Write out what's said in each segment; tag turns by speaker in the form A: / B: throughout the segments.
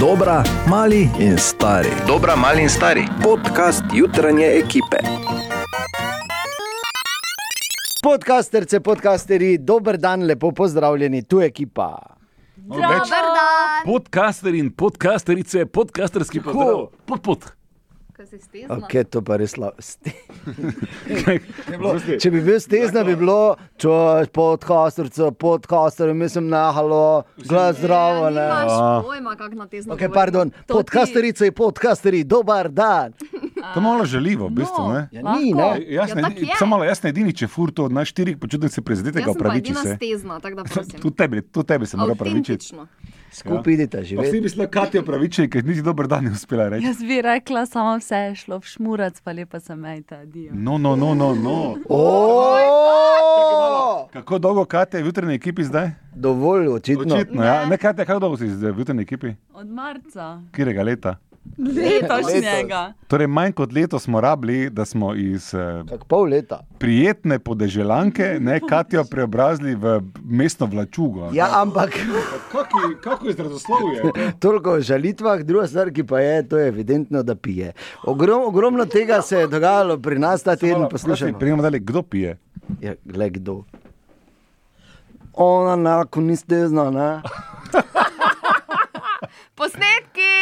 A: Dobra, mali in stari.
B: Dobra, mali in stari.
A: Podcast jutranje ekipe.
C: Podcasterce, podcasteri, dober dan, lepo pozdravljeni, tu je ekipa.
D: Dober dan.
E: Podcaster in podcasterice, podcasterski pozdrav. Pod, pod.
D: Ko si stezna.
C: Okay, to pa res slabo. Če bi bil stezna, bi bilo čoš, podcasterce, podcaster, mislim na halo, glas zdravo.
D: Ne,
C: Ne?
D: ja, nimaš pojma, kako na te
C: Ok, pardon, podcasterice in podcasteri, dober dan.
D: Ja.
F: To je malo žaljivo, v bistvu.
D: No,
F: Ne?
C: Ja, ni,
D: lahko.
C: ne.
F: Jaz ne,
D: Ja, tako je.
F: samo malo, jaz ne edini, če fur to od nas štirih, počutim se
D: Jaz
F: prezidetega,
D: sem pa
F: opraviči
D: edina
F: se.
D: stezna, tako da prosim.
F: Tudi tebi, tudi tebi se mora opravičiti.
D: Avtentično.
C: Skupaj idite,
F: Pa Vsi
C: živeti.
F: mislijo, kaj ti opraviči, ker niti dober dan ni uspela reči.
G: Jaz bi rekla, samo vse je šlo v šmurac, pa lepa sem ej ta dio.
F: No, no, no, no. no. Kako dolgo Katja je v jutrni ekipi zdaj?
C: Dovolj očitno.
F: Očitno, ja. Ne, Katja, kako dolgo si zdaj v jutrni ekipi?
G: Od marca,
F: Katerega leta?
G: letošnjega.
F: Torej, manj kot leto smo rabili, da smo iz eh,
C: Kak pol leta.
F: prijetne podeželanke, ne Katjo preobrazili v mestno vlačugo.
C: Ja, ampak.
F: Kaki- Kako je izrazoslovje?
C: Toliko o žalitvah, druga stvar, ki pa je, to je evidentno, da pije. Ogrom, ogromno tega se je dogajalo pri nas ta teden, poslušaj.
F: Prijemo dalje, kdo pije?
C: Ja, glej, kdo. Ona enako ni stezna, ne?
D: Posnetki!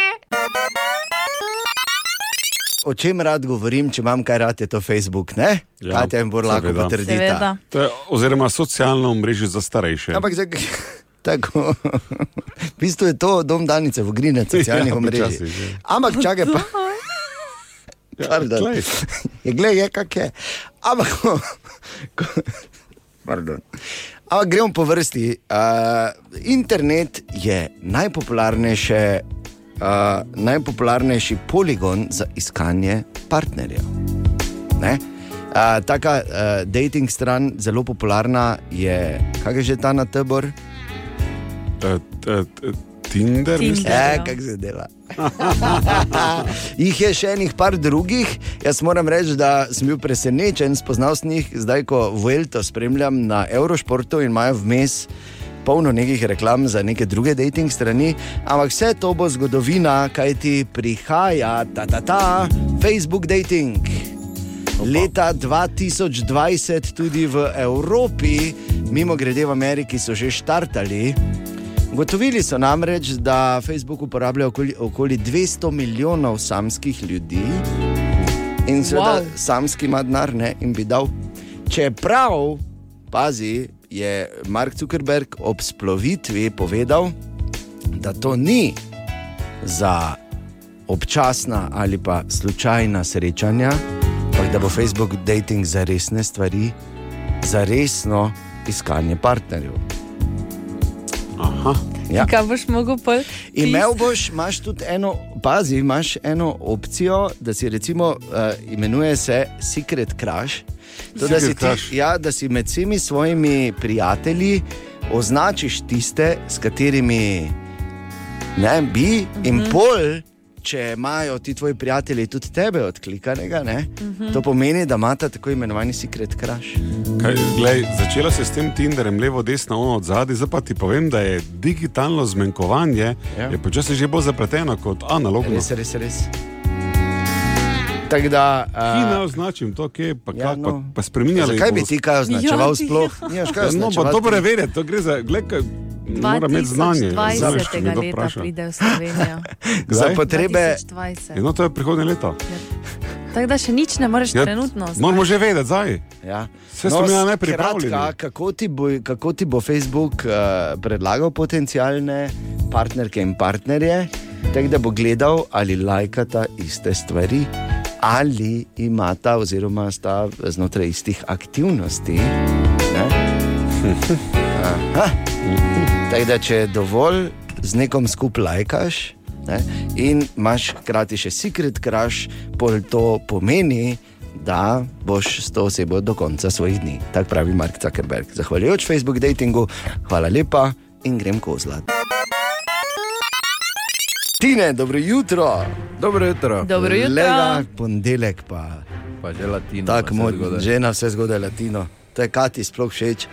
H: o čem rad govorim, če imam kaj rad, je to Facebook. Ne?
E: Ja,
H: Ja, Katja in Borlako
E: seveda.
H: potrdita.
G: Seveda.
E: To je, oziroma socialno mrežo za starejše.
H: Ampak zdaj, tako. V bistvu je to dom Danice v Grine, socialnih
E: Ja,
H: ja, omrežij.
E: počasi, že.
H: Ampak čakaj pa. Pardon.
E: glej.
H: Ja, Glej, je kak je. Ampak, ko- ko- pardon. Ampak gremo po vrsti. Uh, internet je najpopularnejše, uh, najpopularnejši poligon za iskanje partnerjev. Ne? Uh, taka uh, dating stran, zelo popularna je, kaj je že ta na tebor?
E: E, e, e, Tinder, mislim.
G: Tinder.
H: Ja,
G: ja.
H: kako se dela. jih je še enih par drugih. Jaz moram reči, da sem bil presenečen, spoznal sem jih zdaj, ko Vuelto spremljam na Eurošportu in imajo vmes. Polno nekih reklam za neke druge dating strani, ampak vse to bo zgodovina, kaj ti prihaja, ta ta ta, Facebook dating. Leta 2020 tudi v Evropi, mimo grede v Ameriki, so že štartali. Gotovili so namreč, da Facebook uporablja okoli, okoli 200 milijonov samskih ljudi in seveda wow. samski ima denar ne, in bi dal. Čeprav, pazi, je Mark Zuckerberg ob splovitvi povedal, da to ni za občasna ali pa slučajna srečanja, ampak da bo Facebook dating za resne stvari, za resno iskanje partnerjev. Ja.
G: Kaj boš mogel pol?
H: Imel boš, imaš tudi eno, pazi, imaš eno opcijo, da si recimo, uh, imenuje se Secret Crush. To, da, si
E: Secret crush.
H: ti, ja, da si med vsemi svojimi prijatelji označiš tiste, s katerimi ne bi, in pol, če imajo ti tvoji prijatelji tudi tebe odklikanega, ne, to pomeni, da imata tako imenovani Secret Crush.
E: Kaj, glej, začelo se je s tem Tinderjem, levo, desno, ono od zadaj, zdaj pa ti povem, da je digitalno zmenkovanje
H: Ja.
E: ja. počasi že bolj zapleteno kot analogno.
H: Res, res, res. Tako da.
E: Ti
H: eh,
E: ne označim to, kje pa,
H: Ja,
E: ja,
H: no.
E: no. pa, pa spremenjali.
H: Zakaj bi
E: bomo-
H: ti kaj označeval
G: Ja,
H: ja,
G: ti-
H: sploh? Nimaš kaj
E: Ja, No, pa
H: označevati.
E: dobro je vedeti, to gre za, glej, kaj, mora imeti znanje. Znaš, če
G: 20.
E: nekdo
G: leta
E: vpraša.
G: pride v Slovenijo.
H: Za
E: Kdaj?
H: potrebe,
G: 2020.
E: Ja, No, to je prihodnje leto.
G: Tako da še nič ne moreš
E: Ja,
G: trenutno.
E: Moramo že vedeti, zdaj.
H: ja.
E: Vse smo imeli najprej
H: kratka,
E: pripravljeno.
H: kako, ti bo, kako ti bo Facebook uh, predlagal potencijalne partnerke in partnerje, tako da bo gledal, ali lajkata iste stvari, ali imata, oziroma sta znotraj istih aktivnosti. ne. Aha. Tako da, če dovolj z nekom skupaj lajkaš. Ne? In imaš hkrati še secret crash, pol to pomeni, da boš s to osebo do konca svojih dni. Tako pravi Mark Zuckerberg. Zahvaljujoč Facebook datingu, hvala lepa in grem kozlat. Tine, dobro jutro.
B: Dobro jutro.
G: Dobro jutro.
H: Lega, ponedeljek pa
B: Pa že latino.
H: tako močno, že na vse zgodaj latino. To je Kati sploh všeč,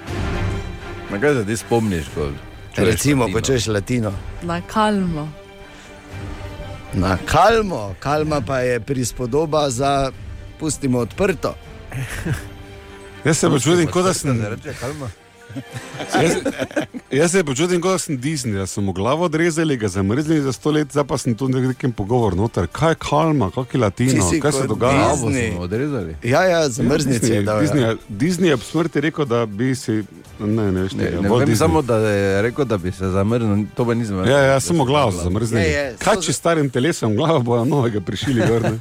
B: Na kaj se ti spomniš? ko čuješ
H: recimo,
B: latino?
H: ko češ latino.
G: Na kalmo.
H: Na kalmo, kalma pa je prispodoba za pustimo odprto.
E: Jaz
H: No,
E: se počutim, kot da sem.
B: Reče, kalma.
E: Jaz, jaz se počutim, kot da sem Disney, da so mu glavo odrezali, ga zamrznili za sto let, zdaj pa sem tu v nekem pogovoru noter. Kaj je kalma, kaj je
H: Ti
E: latino,
H: si
E: kaj se
H: kot
E: dogaja?
H: Disney.
B: Glavo smo odrezali.
H: Ja, ja, zamrznice je
E: Disney,
H: dal.
E: Disney,
H: Ja.
E: je- Disney je ob smrti rekel, da bi si. Ne, ne, veš,
B: Ne,
E: tega,
B: ne
E: Walt
B: vem
E: Disney.
B: samo, da je rekel, da bi se zamrznil, to pa nisem
E: Ja,
B: vedel.
E: ja, samo glavo so zamrznili.
H: Je, je,
E: Kaj
H: ja, so-
E: če s starim telesom, glavo bojo novega prišili gor. ne?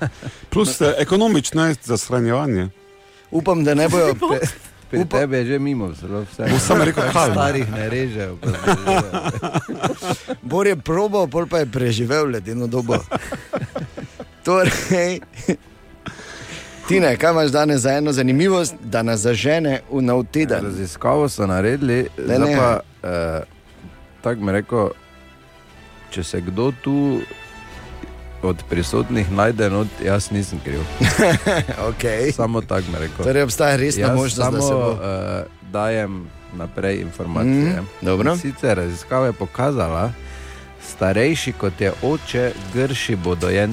E: Plus eh, ekonomično je za shranjevanje.
H: Upam, da ne bojo. Pre...
B: Pri
H: Upa-
B: tebi je že mimo, zelo vse.
E: Bo samo rekel, kalma.
B: Starih ne režejo. pa zdaj-
H: Bor je probal, pol pa je preživel ledeno dobo. Torej, Tine, kaj imaš danes za eno zanimivost, da nas zažene v nov
B: Ja,
H: teden?
B: Raziskavo so naredili,
H: Ne,
B: zdaj
H: ne.
B: pa, eh, tako mi reko, če se kdo tu od prisotnih najde, no, jaz nisem kriv.
H: Okay.
B: Samo tako mi reko.
H: Torej, obstaja resna
B: Jaz
H: možnost,
B: samo
H: da se bo.
B: eh, dajem naprej informacije.
H: Mhm, dobro.
B: Sicer raziskava je pokazala, starejši kot je oče, grši bodo jeni.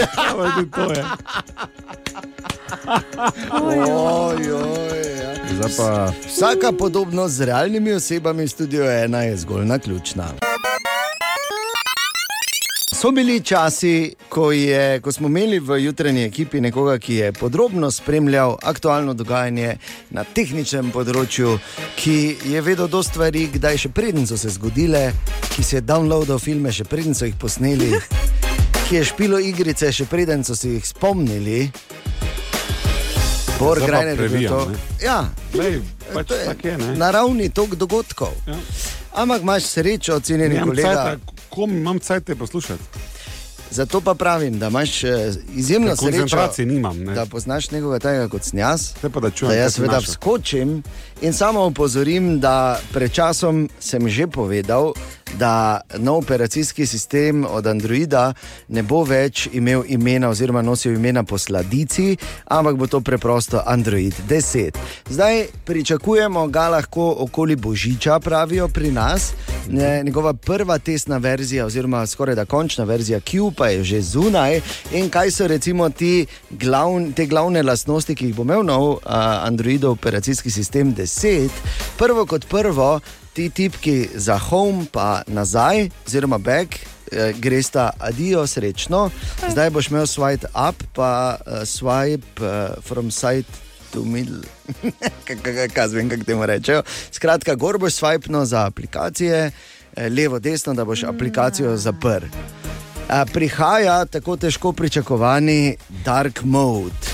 H: Ja. Oj, oj, ja.
B: Zdaj pa
H: Vsaka podobnost z realnimi osebami v studiu ena je zgolj naključna. So bili časi, ko, je, ko smo imeli v jutranji ekipi nekoga, ki je podrobno spremljal aktualno dogajanje na tehničnem področju, ki je vedel do stvari, kdaj še preden so se zgodile, ki si je downloadal filme, še preden so jih posneli, ki je špilo igrice, še preden so si jih spomnili. Bor
E: Zdaj pa
H: Grajner je bil
E: previjam,
H: to.
E: ne.
H: Ja,
E: Lej, pač
H: To je
E: tako je, ne?
H: Naravni tok dogodkov.
E: Ja.
H: Ampak imaš srečo, cenjeni
E: Nimam
H: kolega.
E: cajta, Kom imam cajte poslušati?
H: Zato pa pravim, da imaš eh, izjemno srečo,
E: Koncentracije nimam, ne?
H: da poznaš nekoga tega kot snjas.
E: Zdaj pa da čujem.
H: Da
E: kaj
H: jaz
E: se
H: seveda
E: naša.
H: vskočim in samo opozorim, da pred časom sem že povedal, da nov operacijski sistem od Androida ne bo več imel imena oziroma nosil imena po sladici, ampak bo to preprosto Android 10. Zdaj pričakujemo ga lahko okoli Božiča, pravijo pri nas. Ne, njegova prva testna verzija, oziroma skoraj da končna verzija Q, pa je že zunaj. In kaj so recimo ti glavn, te glavne lastnosti, ki jih bo imel nov uh, Androidov operacijski sistem 10? Prvo kot prvo, ti tipki za home, pa nazaj, oziroma back. eh, Gresta, adijo, srečno. Zdaj boš imel swipe up, pa uh, swipe uh, from side to middle, kaj zvem, kako temu rečejo. Skratka, gor boš svajpno za aplikacije, eh, levo, desno, da boš aplikacijo zaprl. Eh, Prihaja tako težko pričakovani dark mode.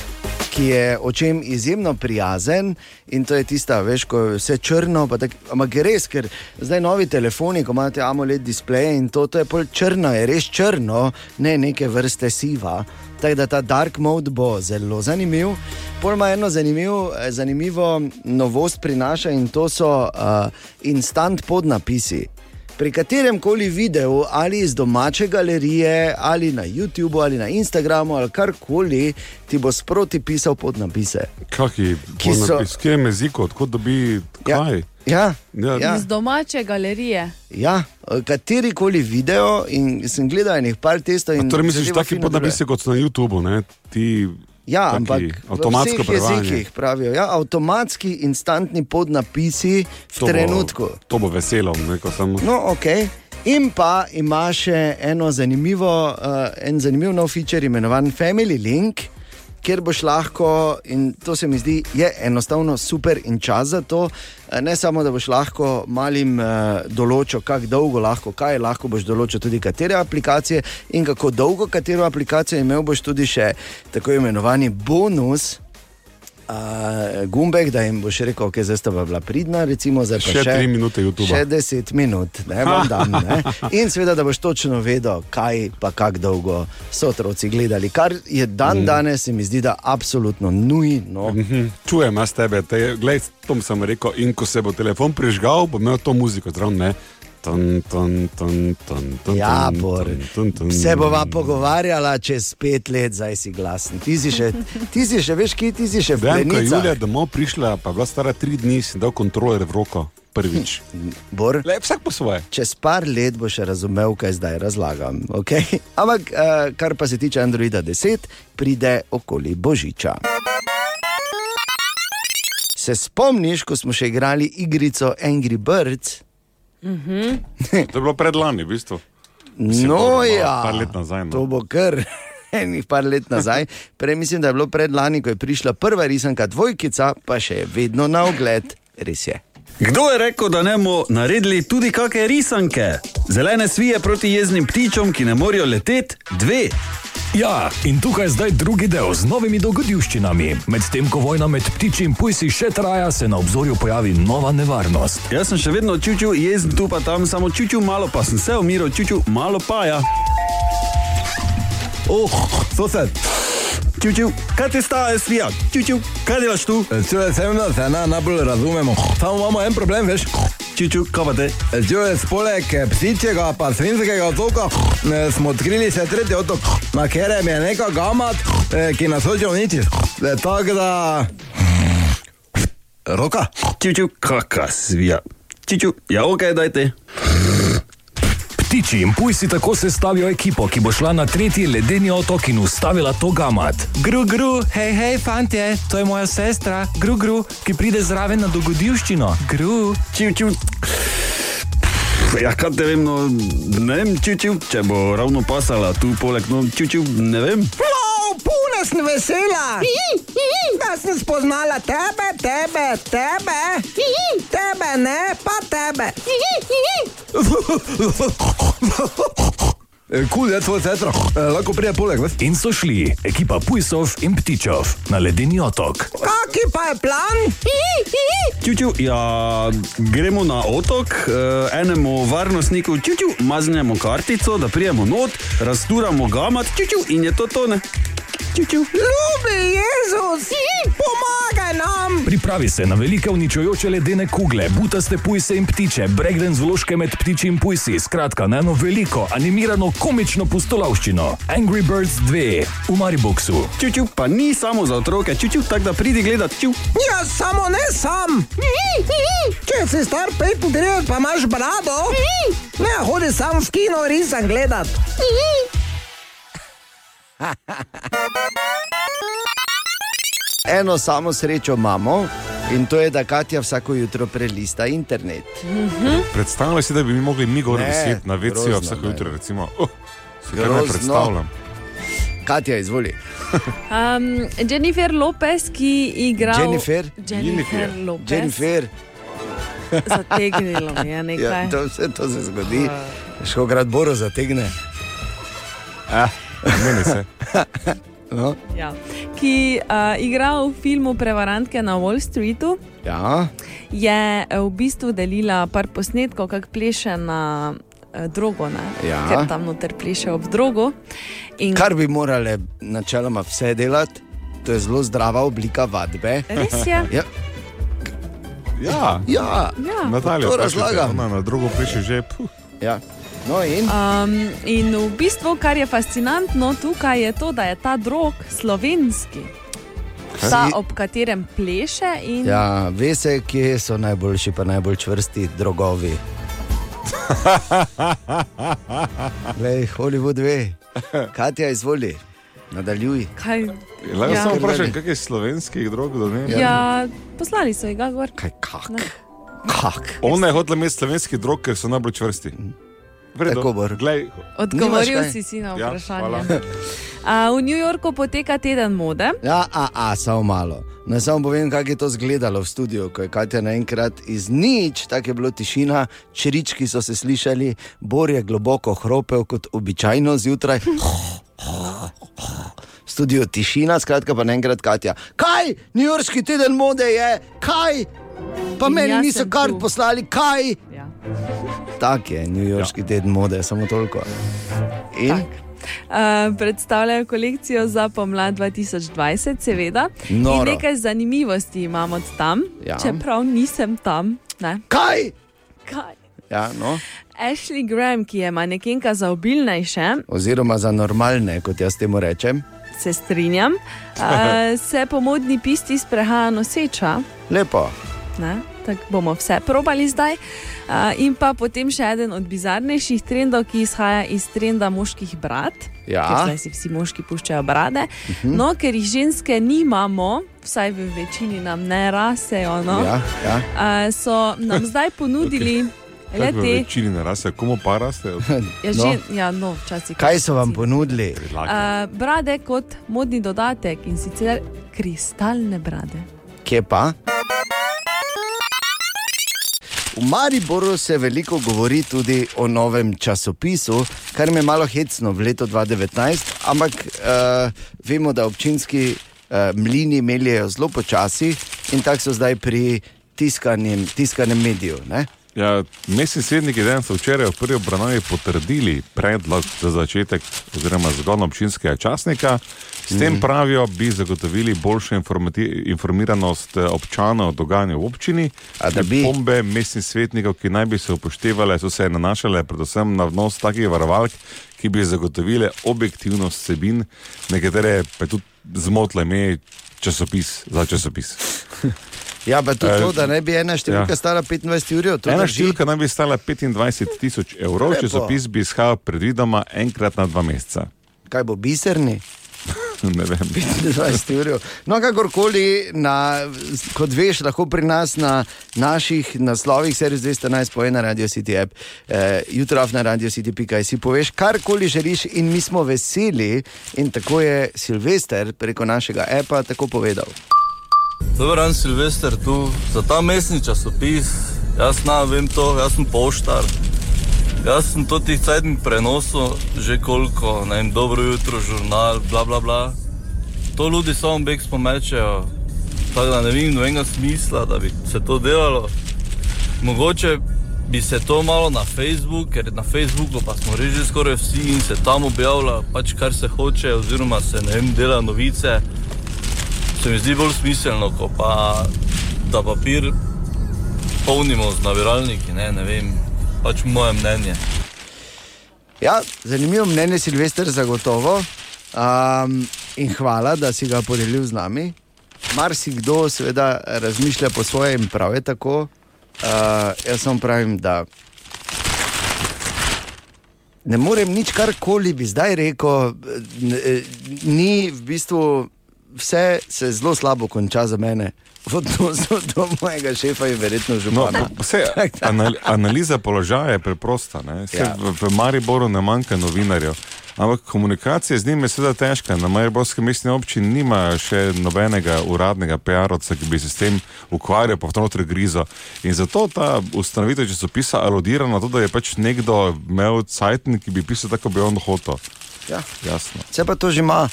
H: Ki je očem izjemno prijazen, in to je tista, veš, ko je vse črno. pa Tak, ampak je res, ker zdaj novi telefoni, ko imate AMOLED displeje in to, to je pol črno, je res črno, ne neke vrste siva. Tako da ta dark mode bo zelo zanimiv. Pol ima eno zanimiv, eh, zanimivo novost prinaša in to so uh, instant podnapisi pri katerem koli videu, ali iz domače galerije, ali na YouTubu, ali na Instagramu, ali karkoli, ti bo sproti pisal podnapise.
E: Kaki,
H: Ki
E: ki
H: so-
E: so... Iz katerem jeziku, odkud dobi kaj?
H: Ja,
E: Ja,
H: ja.
G: Iz domače galerije.
H: ja. kateri koli video, in sem gledal enih par testov. in
E: Torej misliš,
H: zadeva
E: taki
H: fino deluje.
E: podnapisi kot so na YouTubu, ne? Ti
H: Ja,
E: taki
H: ampak
E: avtomatsko
H: v vseh
E: prevajanje.
H: jezikih pravijo, ja, avtomatski instantni podnapisi v
E: To bo-
H: trenutku.
E: To bo veselo, ne, ko samo.
H: No, ok. In pa ima še eno zanimivo, uh, en zanimiv nov feature, imenovan Family Link, kjer boš lahko, in to se mi zdi, je enostavno super in čas za to, eh, ne samo da boš lahko malim uh, določil, kako dolgo lahko, kaj lahko boš določil, tudi katere aplikacije in kako dolgo katero aplikacijo imel, boš tudi še tako imenovani bonus. Uh, gumbek, da jim boš rekel, da okay, zdaj sta pa bila pridna, recimo zdaj pa
E: Še tri minute YouTubea.
H: Še 10 minut, ne vam dam. Ne? In seveda, da boš točno vedel, kaj pa kako dolgo so otroci gledali. Kar je dan danes, se mi zdi, da absolutno nujno.
E: Mhm, Čujem jaz tebe, te, gledaj, tom sem rekel, in ko se bo telefon prižgal, bo imel to muziko zraven, ne? Tan, tan, tan, tan, tan,
H: Ja,
E: tan,
H: Bor,
E: tan, tan, tan.
H: se bova pogovarjala čez pet let, zdaj si glasen. Ti si še, ti si še veš, ki ti si še v
E: Vem, ko je Julija
H: plenicah.
E: domov prišla, pa je bila stara tri dni, sem dal kontroler v roko. prvič.
H: Bor,
E: Le, vsak po svoje.
H: čez par let boš razumel, kaj zdaj razlagam. Okay? Ampak, eh, kar pa se tiče Androida 10, pride okoli Božiča. Se spomniš, ko smo še igrali igrico Angry Birds?
E: To je bilo predlani, v bistvu. Mislim,
H: No,
E: dobro,
H: ja,
E: par let nazaj, no.
H: To bo kar. Enih par let nazaj, prej mislim, da je bilo predlani, ko je prišla prva risanka dvojkica, pa še je vedno na ogled, res je.
I: Kdo je rekel, da ne bomo naredili tudi kakšne risanke? Zelene svije proti jeznim ptičom, ki ne morejo leteti, dve.
J: Ja, in tukaj je zdaj drugi del z novimi dogodivščinami. Medtem ko vojna med ptiči in pujsi še traja, se na obzorju pojavi nova nevarnost.
B: Ja,
I: Jaz sem še vedno čutil jezen tu pa tam, samo čutil malo, pa sem se umiral, čutil malo pa ja. Oh, sosed. Čutil, kaj ti staje svija? Čutil, kaj delaš tu?
B: Čuje se, da se ena najbolj razumemo. Samo imamo en problem, veš.
I: Čutil, kaj pa te?
B: Čuje se, poleg ptičjega pa svinskega otoka eh, smo odkrili še tretji otok, na katerem je neka gamat, eh, ki nas hoče uničiti. Eh, Tako da... Roka.
I: Čutil, kaka svija. Čutil, ja ok, dajte.
J: Ptiči in pujsi tako sestavijo ekipo, ki bo šla na tretji ledeni otok in ustavila to gamat. Gru, gru, hej, hej, fantje, to je moja sestra, gru, gru, ki pride zraven na dogodivščino. Gru.
I: čil, čil. Ja, kaj te vem, no, ne vem, čil, čil, če bo ravno pasala tu poleg, no, čil, čil, ne vem.
K: Puna sem vesela, da sem spoznala tebe, tebe, tebe, tebe ne, pa tebe.
B: Eh, Kul je tvoj tetra, Eh, lahko prije poleg, veš.
J: In so šli, ekipa pujsov in ptičev, na ledeni otok.
K: Kaki pa je plan?
I: Čil, čil, ja, gremo na otok, eh, enemu varnostniku, čil, čil, maznemo kartico, da prijemo not, rasturamo gamat, čil, čil, in je to tone. Čil, čil.
K: Ljubi Jezus, pomagaj nam!
J: Pripravi se na velike uničujoče ledene kugle, butaste pujse in ptiče, bregden zložke med ptiči in pujsi, skratka na eno veliko animirano komično pustolovščino. Angry Birds 2 v Mariboku.
I: Čil, čil, pa ni samo za otroke, čil, čil, tako da pridi gledat, čil.
K: Jaz Ja, samo ne sam. Če si star 35, pa imaš brado, ne hodi sam v kino, risan gledat.
H: Eno samo srečo imamo in to je, da Katja vsako jutro prelista internet.
E: Predstavljaj si, da bi mi mogli mi gor
H: Ne,
E: sedeti na vecijo
H: grozno,
E: vsako
H: ne.
E: jutro, recimo. Oh, si kar ne
H: Grozno.
E: predstavljam.
H: Katja, izvoli.
G: Mm,
L: Um, Jennifer Lopez, ki igra.
H: Jennifer?
L: Jennifer Lopez.
H: Jennifer,
L: Zategnilo mi je nekaj.
H: ja, to, vse to se zgodi, šel grad Boro zategne.
E: Meni se.
H: No,
L: Ja. Ki uh, igra v filmu Prevarantke na Wall Streetu,
H: ja.
L: je eh, v bistvu delila par posnetkov, kako pleše na eh, drogo, ne?
H: Ja.
L: ker tam noter pleše ob drogo. In
H: Kar bi morale načeloma vse delati, to je zelo zdrava oblika vadbe.
L: Res je.
H: Ja,
E: Ja,
L: Ja.
H: ja,
E: Natalija,
H: To
E: vprašajte,
H: razlagam.
E: ona Na drugo piše že. Puh.
H: ja. No in
L: Um, in v bistvu, kar je fascinantno tukaj, je to, da je ta drog slovenski. Ta,
H: Si-
L: ob katerem pleše in ja.
H: ja, ve se, kje so najboljši, pa najbolj čvrsti drogovi. Glej, Hollywood ve. Katja, izvoli, nadaljuj.
L: kaj.
E: Le,
L: Ja.
E: ja. Samo vprašaj, kaj je slovenski drog, da ne.
L: Ja. Ja, poslali so ga gor.
H: Kaj, kak?
L: Ne.
H: Kak?
E: Ona je hodila imeti slovenski drog, ker so najbolj čvrsti.
H: Tako, Bor.
E: Glej,
L: Odgovoril
H: Nimaš kaj?
L: si si na
E: Ja, hvala.
L: vprašanje. A, v New Yorku poteka teden mode.
H: Ja, a, a, samo malo. Naj samo povem, kako je to izgledalo v studiu, ko je Katja naenkrat iz nič, tako je bilo tišina, črički so se slišali, Bor je globoko hropel kot običajno zjutraj. V Studio tišina, skratka pa naenkrat Katja. Kaj, New Yorkski teden mode je, kaj, pa
L: In
H: meni
L: jaz
H: niso
L: sem
H: kar
L: tu.
H: poslali, kaj.
L: Ja.
H: Tak je New Yorkski ja. teden mode, samo toliko. In tak.
L: A, predstavljajo kolekcijo za pomlad 2020, seveda.
H: Noro.
L: In nekaj zanimivosti imamo od tam,
H: Ja.
L: čeprav nisem tam. Ne.
H: kaj?
L: Kaj?
H: Ja, no.
L: Ashley Graham, ki je manekenka za obilnejše,
H: Oziroma za normalne, kot jaz temu rečem.
L: se strinjam, uh, se po modni pisti sprehaja noseča.
H: Lepo.
L: Ne? tako bomo vse probali zdaj. Uh, in pa potem še eden od bizarnejših trendov, ki izhaja iz trenda moških brat.
H: Ja. Mhm.
L: ker Zdaj si vsi moški puščajo brade. Uh -huh. No, ker jih ženske nimamo, vsaj v večini nam ne rasejo. No,
E: Ja, ja.
L: uh, so nam zdaj ponudili okay. le
E: Tako
L: te.
E: v večini naraste, komu pa raste?
L: Ja, no. Že, ja, no, včasih.
H: Kaj so vam ponudili?
L: Uh, brade kot modni dodatek in sicer kristalne brade.
H: Kje pa? V Mariboru se veliko govori tudi o novem časopisu, kar me je malo hecno v letu 2019, ampak uh, vemo, da občinski uh, mlini melijo zelo počasi in tako so zdaj pri tiskanjem, tiskanem mediju. Ne?
E: Ja, mestni svetniki dan so včeraj v prvi obravnavi potrdili predlog za začetek oziroma zagon občinskega časnika. S tem pravijo, bi zagotovili boljšo informati- informiranost eh, občanov o dogajanju v občini. Pombe mestnih svetnikov, ki naj bi se upoštevale, so se nanašale predvsem na vnos takih varovalk, ki bi zagotovile objektivnost vsebin, nekatere pa je tudi zmotile ime časopis za časopis.
H: Ja, pa tudi to, da ne bi ena številka ja. stala 25 ur, to
E: Eh, Ena
H: drži.
E: številka naj bi stala 25 tisoč evrov,
H: Lepo.
E: če zapis bi izhajal predvidoma enkrat na dva meseca.
H: Kaj bo biserni?
E: ne vem.
H: 25 ur. No, kakorkoli, na, kot veš, lahko pri nas na naših naslovih, servis 211, poje na Radio City app, eh, jutrav na Radio City.kaj si poveš, karkoli želiš, in mi smo veseli. In tako je Silvester preko našega appa tako povedal.
M: Dobro, dan, Silvester, tu za ta mestni časopis, jaz ne vem to, jaz sem poštar. Jaz sem to tih cajtnih prenosov že koliko, ne vem, dobro jutro, žurnal, bla bla bla. To ljudi samo beg spomečejo, tako da ne vidim nobenega smisla, da bi se to delalo. Mogoče bi se to malo na Facebook, ker na Facebooku pa smo res že skoraj vsi in se tam objavlja pač kar se hoče, oziroma se ne vem, dela novice se mi zdi bolj smiselno, ko pa da papir polnimo z nabiralniki, ne, ne vem, pač moje mnenje.
H: Ja, zanimivo mnenje Silvester, zagotovo. Um, in hvala, da si ga podelil z nami. Marsikdo, seveda, razmišlja po svoje in prav je tako. Uh, jaz samo pravim, da ne morem nič karkoli bi zdaj rekel. n- eh, Ni v bistvu vse se zelo slabo konča za mene. V odnosu do mojega šefa je verjetno že
E: No,
H: malo.
E: vse, anal, analiza položaja je preprosta. Ja.
H: Ja.
E: V, v Mariboru ne manjka novinarjev, ampak komunikacija z njimi je seveda težka. Na Mariborski mestni občini nima še nobenega uradnega PR-ovca, ki bi se s tem ukvarjal, pa vnotri grizo. In zato ta ustanovitev časopisa aludira na to, da je pač nekdo imel cajtnik, ki bi pisal tako, kot bi on hotel.
H: Ja.
E: Jasno.
H: Vse pa to že ima.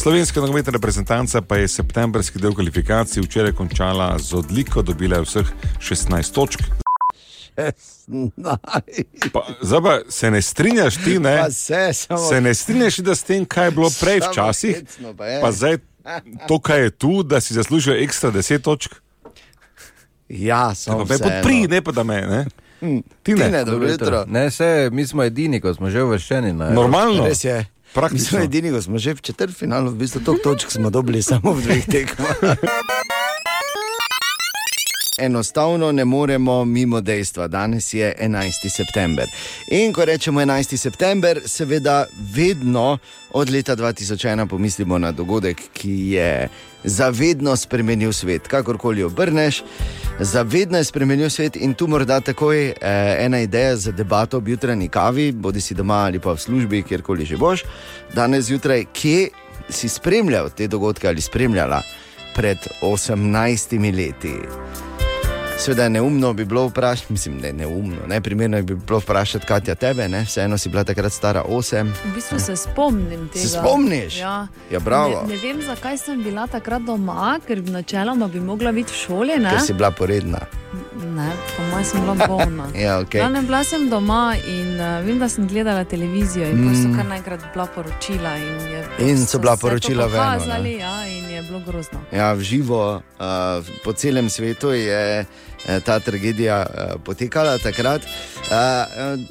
E: Slovenska nogometna reprezentanca pa je septembrski del kvalifikacij včeraj končala z odliko, dobila je vseh 16 točk. Hm. Pa, zdaj pa se ne strinjaš ti, ne?
H: Pa se, samo-
E: se ne strinjaš, da s tem, kaj je bilo prej
H: Samo
E: včasih,
H: hecno pa je.
E: pa zdaj to, kaj je tu, da si zaslužijo ekstra 10 točk.
H: Ja,
E: samo
A: vseeno.
E: Podpri, ne pa da me. Ne?
H: Hm,
E: Ti ne. Dobro jutro.
A: Ne, se, mi smo edini, ko smo že uvrščeni. Ne?
B: No,
E: Normalno.
H: Res je. Praktično. Mi smo edini, ko smo že v četrtfinalu, v bistvu toliko točk smo dobili samo v dveh tekmah. Enostavno ne moremo mimo dejstva, danes je 11. september. In ko rečemo 11. september, seveda vedno od leta 2001 pomislimo na dogodek, ki je zavedno spremenil svet. Kakorkoli obrneš, zavedno je spremenil svet in tu morda takoj eh, ena ideja za debato ob jutranji kavi, bodi si doma ali pa v službi, kjerkoli že boš. Danes zjutraj, kje si spremljal te dogodke ali spremljala pred 18 leti. Seveda je neumno bi bilo vprašati, mislim, ne neumno, ne primerno bi bilo vprašati, kaj je tebe, ne? vseeno si bila takrat stara 8.
L: V bistvu se spomnim tega.
H: Se spomniš?
L: Ja.
H: Ja, bravo.
L: Ne, ne vem, zakaj sem bila takrat doma, ker načeloma bi mogla biti v šoli. Ne,
H: Ker si bila poredna.
L: ne po mojem sem bila bolna.
H: Ja,
L: Okay.
H: okay.
L: Ne, bila sem doma in uh, vem, da sem gledala televizijo, in mm. so
H: Mm.
L: kar naenkrat bila poročila. In, je,
H: In so bila
L: se to
H: poročila v eno, ne?
L: pokazali, ja, in je bilo grozno.
H: ja, v živo, uh, po celem svetu je eh, ta tragedija uh, potekala takrat. Uh,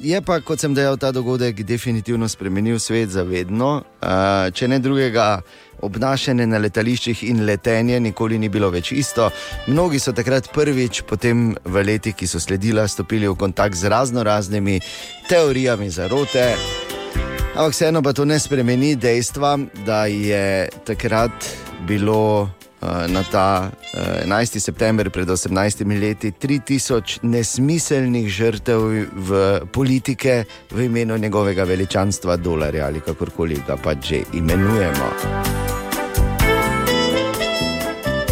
H: je pa, kot sem dejal, ta dogodek definitivno spremenil svet za vedno. Uh, če Eh, ne drugega, obnašanje na letališčih in letenje nikoli ni bilo več isto. Mnogi so takrat prvič, potem v letih, ki so sledila, stopili v kontakt z razno raznimi teorijami zarote. Ampak vseeno pa to ne spremeni dejstva, da je takrat bilo eh, na ta eh, 11. september pred 18 leti 3000 nesmiselnih žrtev v politike v imenu njegovega veličanstva dolarja ali kakorkoli ga pa že imenujemo.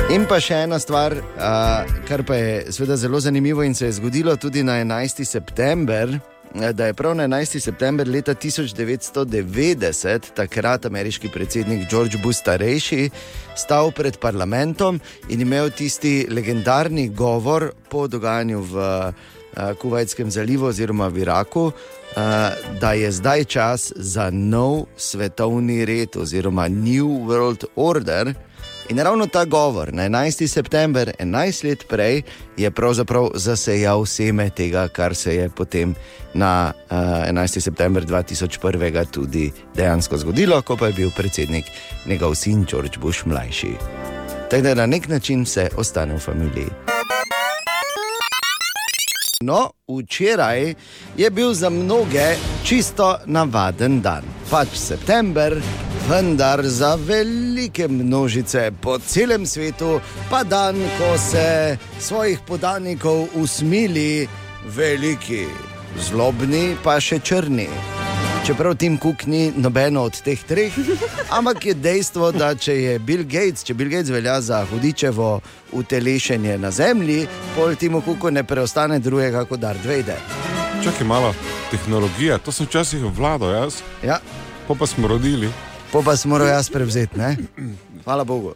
H: In pa še ena stvar, a, kar pa je seveda zelo zanimivo in se je zgodilo tudi na 11. september. eh, Da je prav na 11. september leta 1990 takrat ameriški predsednik George Bush starejši stal pred parlamentom in imel tisti legendarni govor po dogajanju v eh, Kuvajtskem zalivu oziroma v Iraku, eh, da je zdaj čas za nov svetovni red oziroma New World Order. In ravno ta govor na 11. september, 11 let prej, je pravzaprav zasejal seme tega, kar se je potem na uh, 11. september 2001 tudi dejansko zgodilo, ko pa je bil predsednik njegov sin George Bush mlajši. Tako da na nek način vse ostane v familiji. No, včeraj je bil za mnoge čisto navaden dan, pač september, vendar za velike množice po celem svetu pa dan, ko se svojih podanikov usmili veliki, zlobni pa še črni. Čeprav Tim Cook ni nobeno od teh treh, ampak je dejstvo, da če je Bill Gates, če Bill Gates velja za hudičevo utelešenje na zemlji, pol Timu Cooku ne preostane drugega kot Darth Vader.
E: Čakaj malo, tehnologija, to sem včasih vladal jaz.
H: Ja.
E: Pa pa smo rodili.
H: Po pa sem moral jaz prevzeti, ne? Hvala Bogu.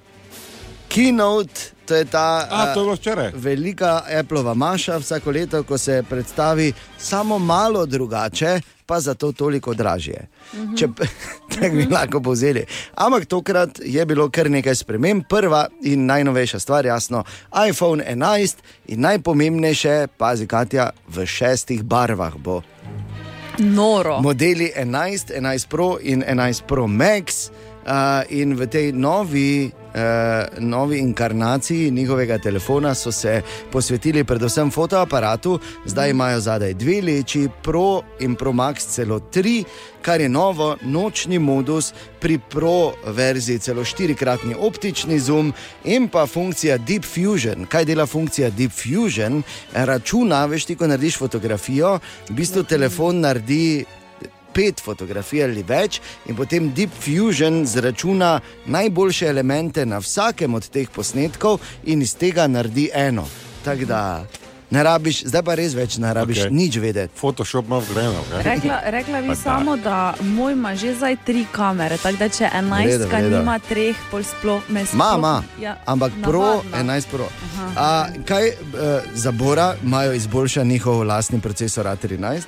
H: Keynote, to je ta
E: A, to je bilo
H: eh,
E: včeraj.
H: velika Appleova maša vsako leto, ko se predstavi samo malo drugače, pa zato toliko dražje.
N: Mhm.
H: Mm -hmm. Tako bi lahko povzeli. Ampak tokrat je bilo kar nekaj sprememb. Prva in najnovejša stvar, jasno, iPhone 11 in najpomembnejše, pazi, Katja, v šestih barvah bo
L: Noro.
H: modeli 11, 11 Pro in 11 Pro Max. Uh, in v tej novi, uh, novi inkarnaciji njihovega telefona so se posvetili predvsem fotoaparatu, zdaj imajo zadaj dve leči, Pro in Pro Max celo tri, kar je novo, nočni modus, pri Pro verziji celo štirikratni optični zoom in pa funkcija Deep Fusion. Kaj dela funkcija Deep Fusion? Računa, veš ti, ko narediš fotografijo, v bistvu telefon naredi pet fotografij ali več, in potem Deep Fusion zračuna najboljše elemente na vsakem od teh posnetkov in iz tega naredi eno. Tako da ne rabiš, zdaj pa res več ne rabiš okay. nič vedeti.
E: Photoshop ja. ima vgrajeno.
L: Rekla, rekla bi
H: Pa da.
L: samo, da moj ima že zdaj tri kamere, tako da če
H: Vreda,
L: enajstka
H: vreda.
L: nima treh, pol sploh ne smem.
H: Mama, ja, ampak pro, 11 pro.
L: Aha.
H: A, kaj eh, zabora imajo izboljšan njihov lastni procesor A13?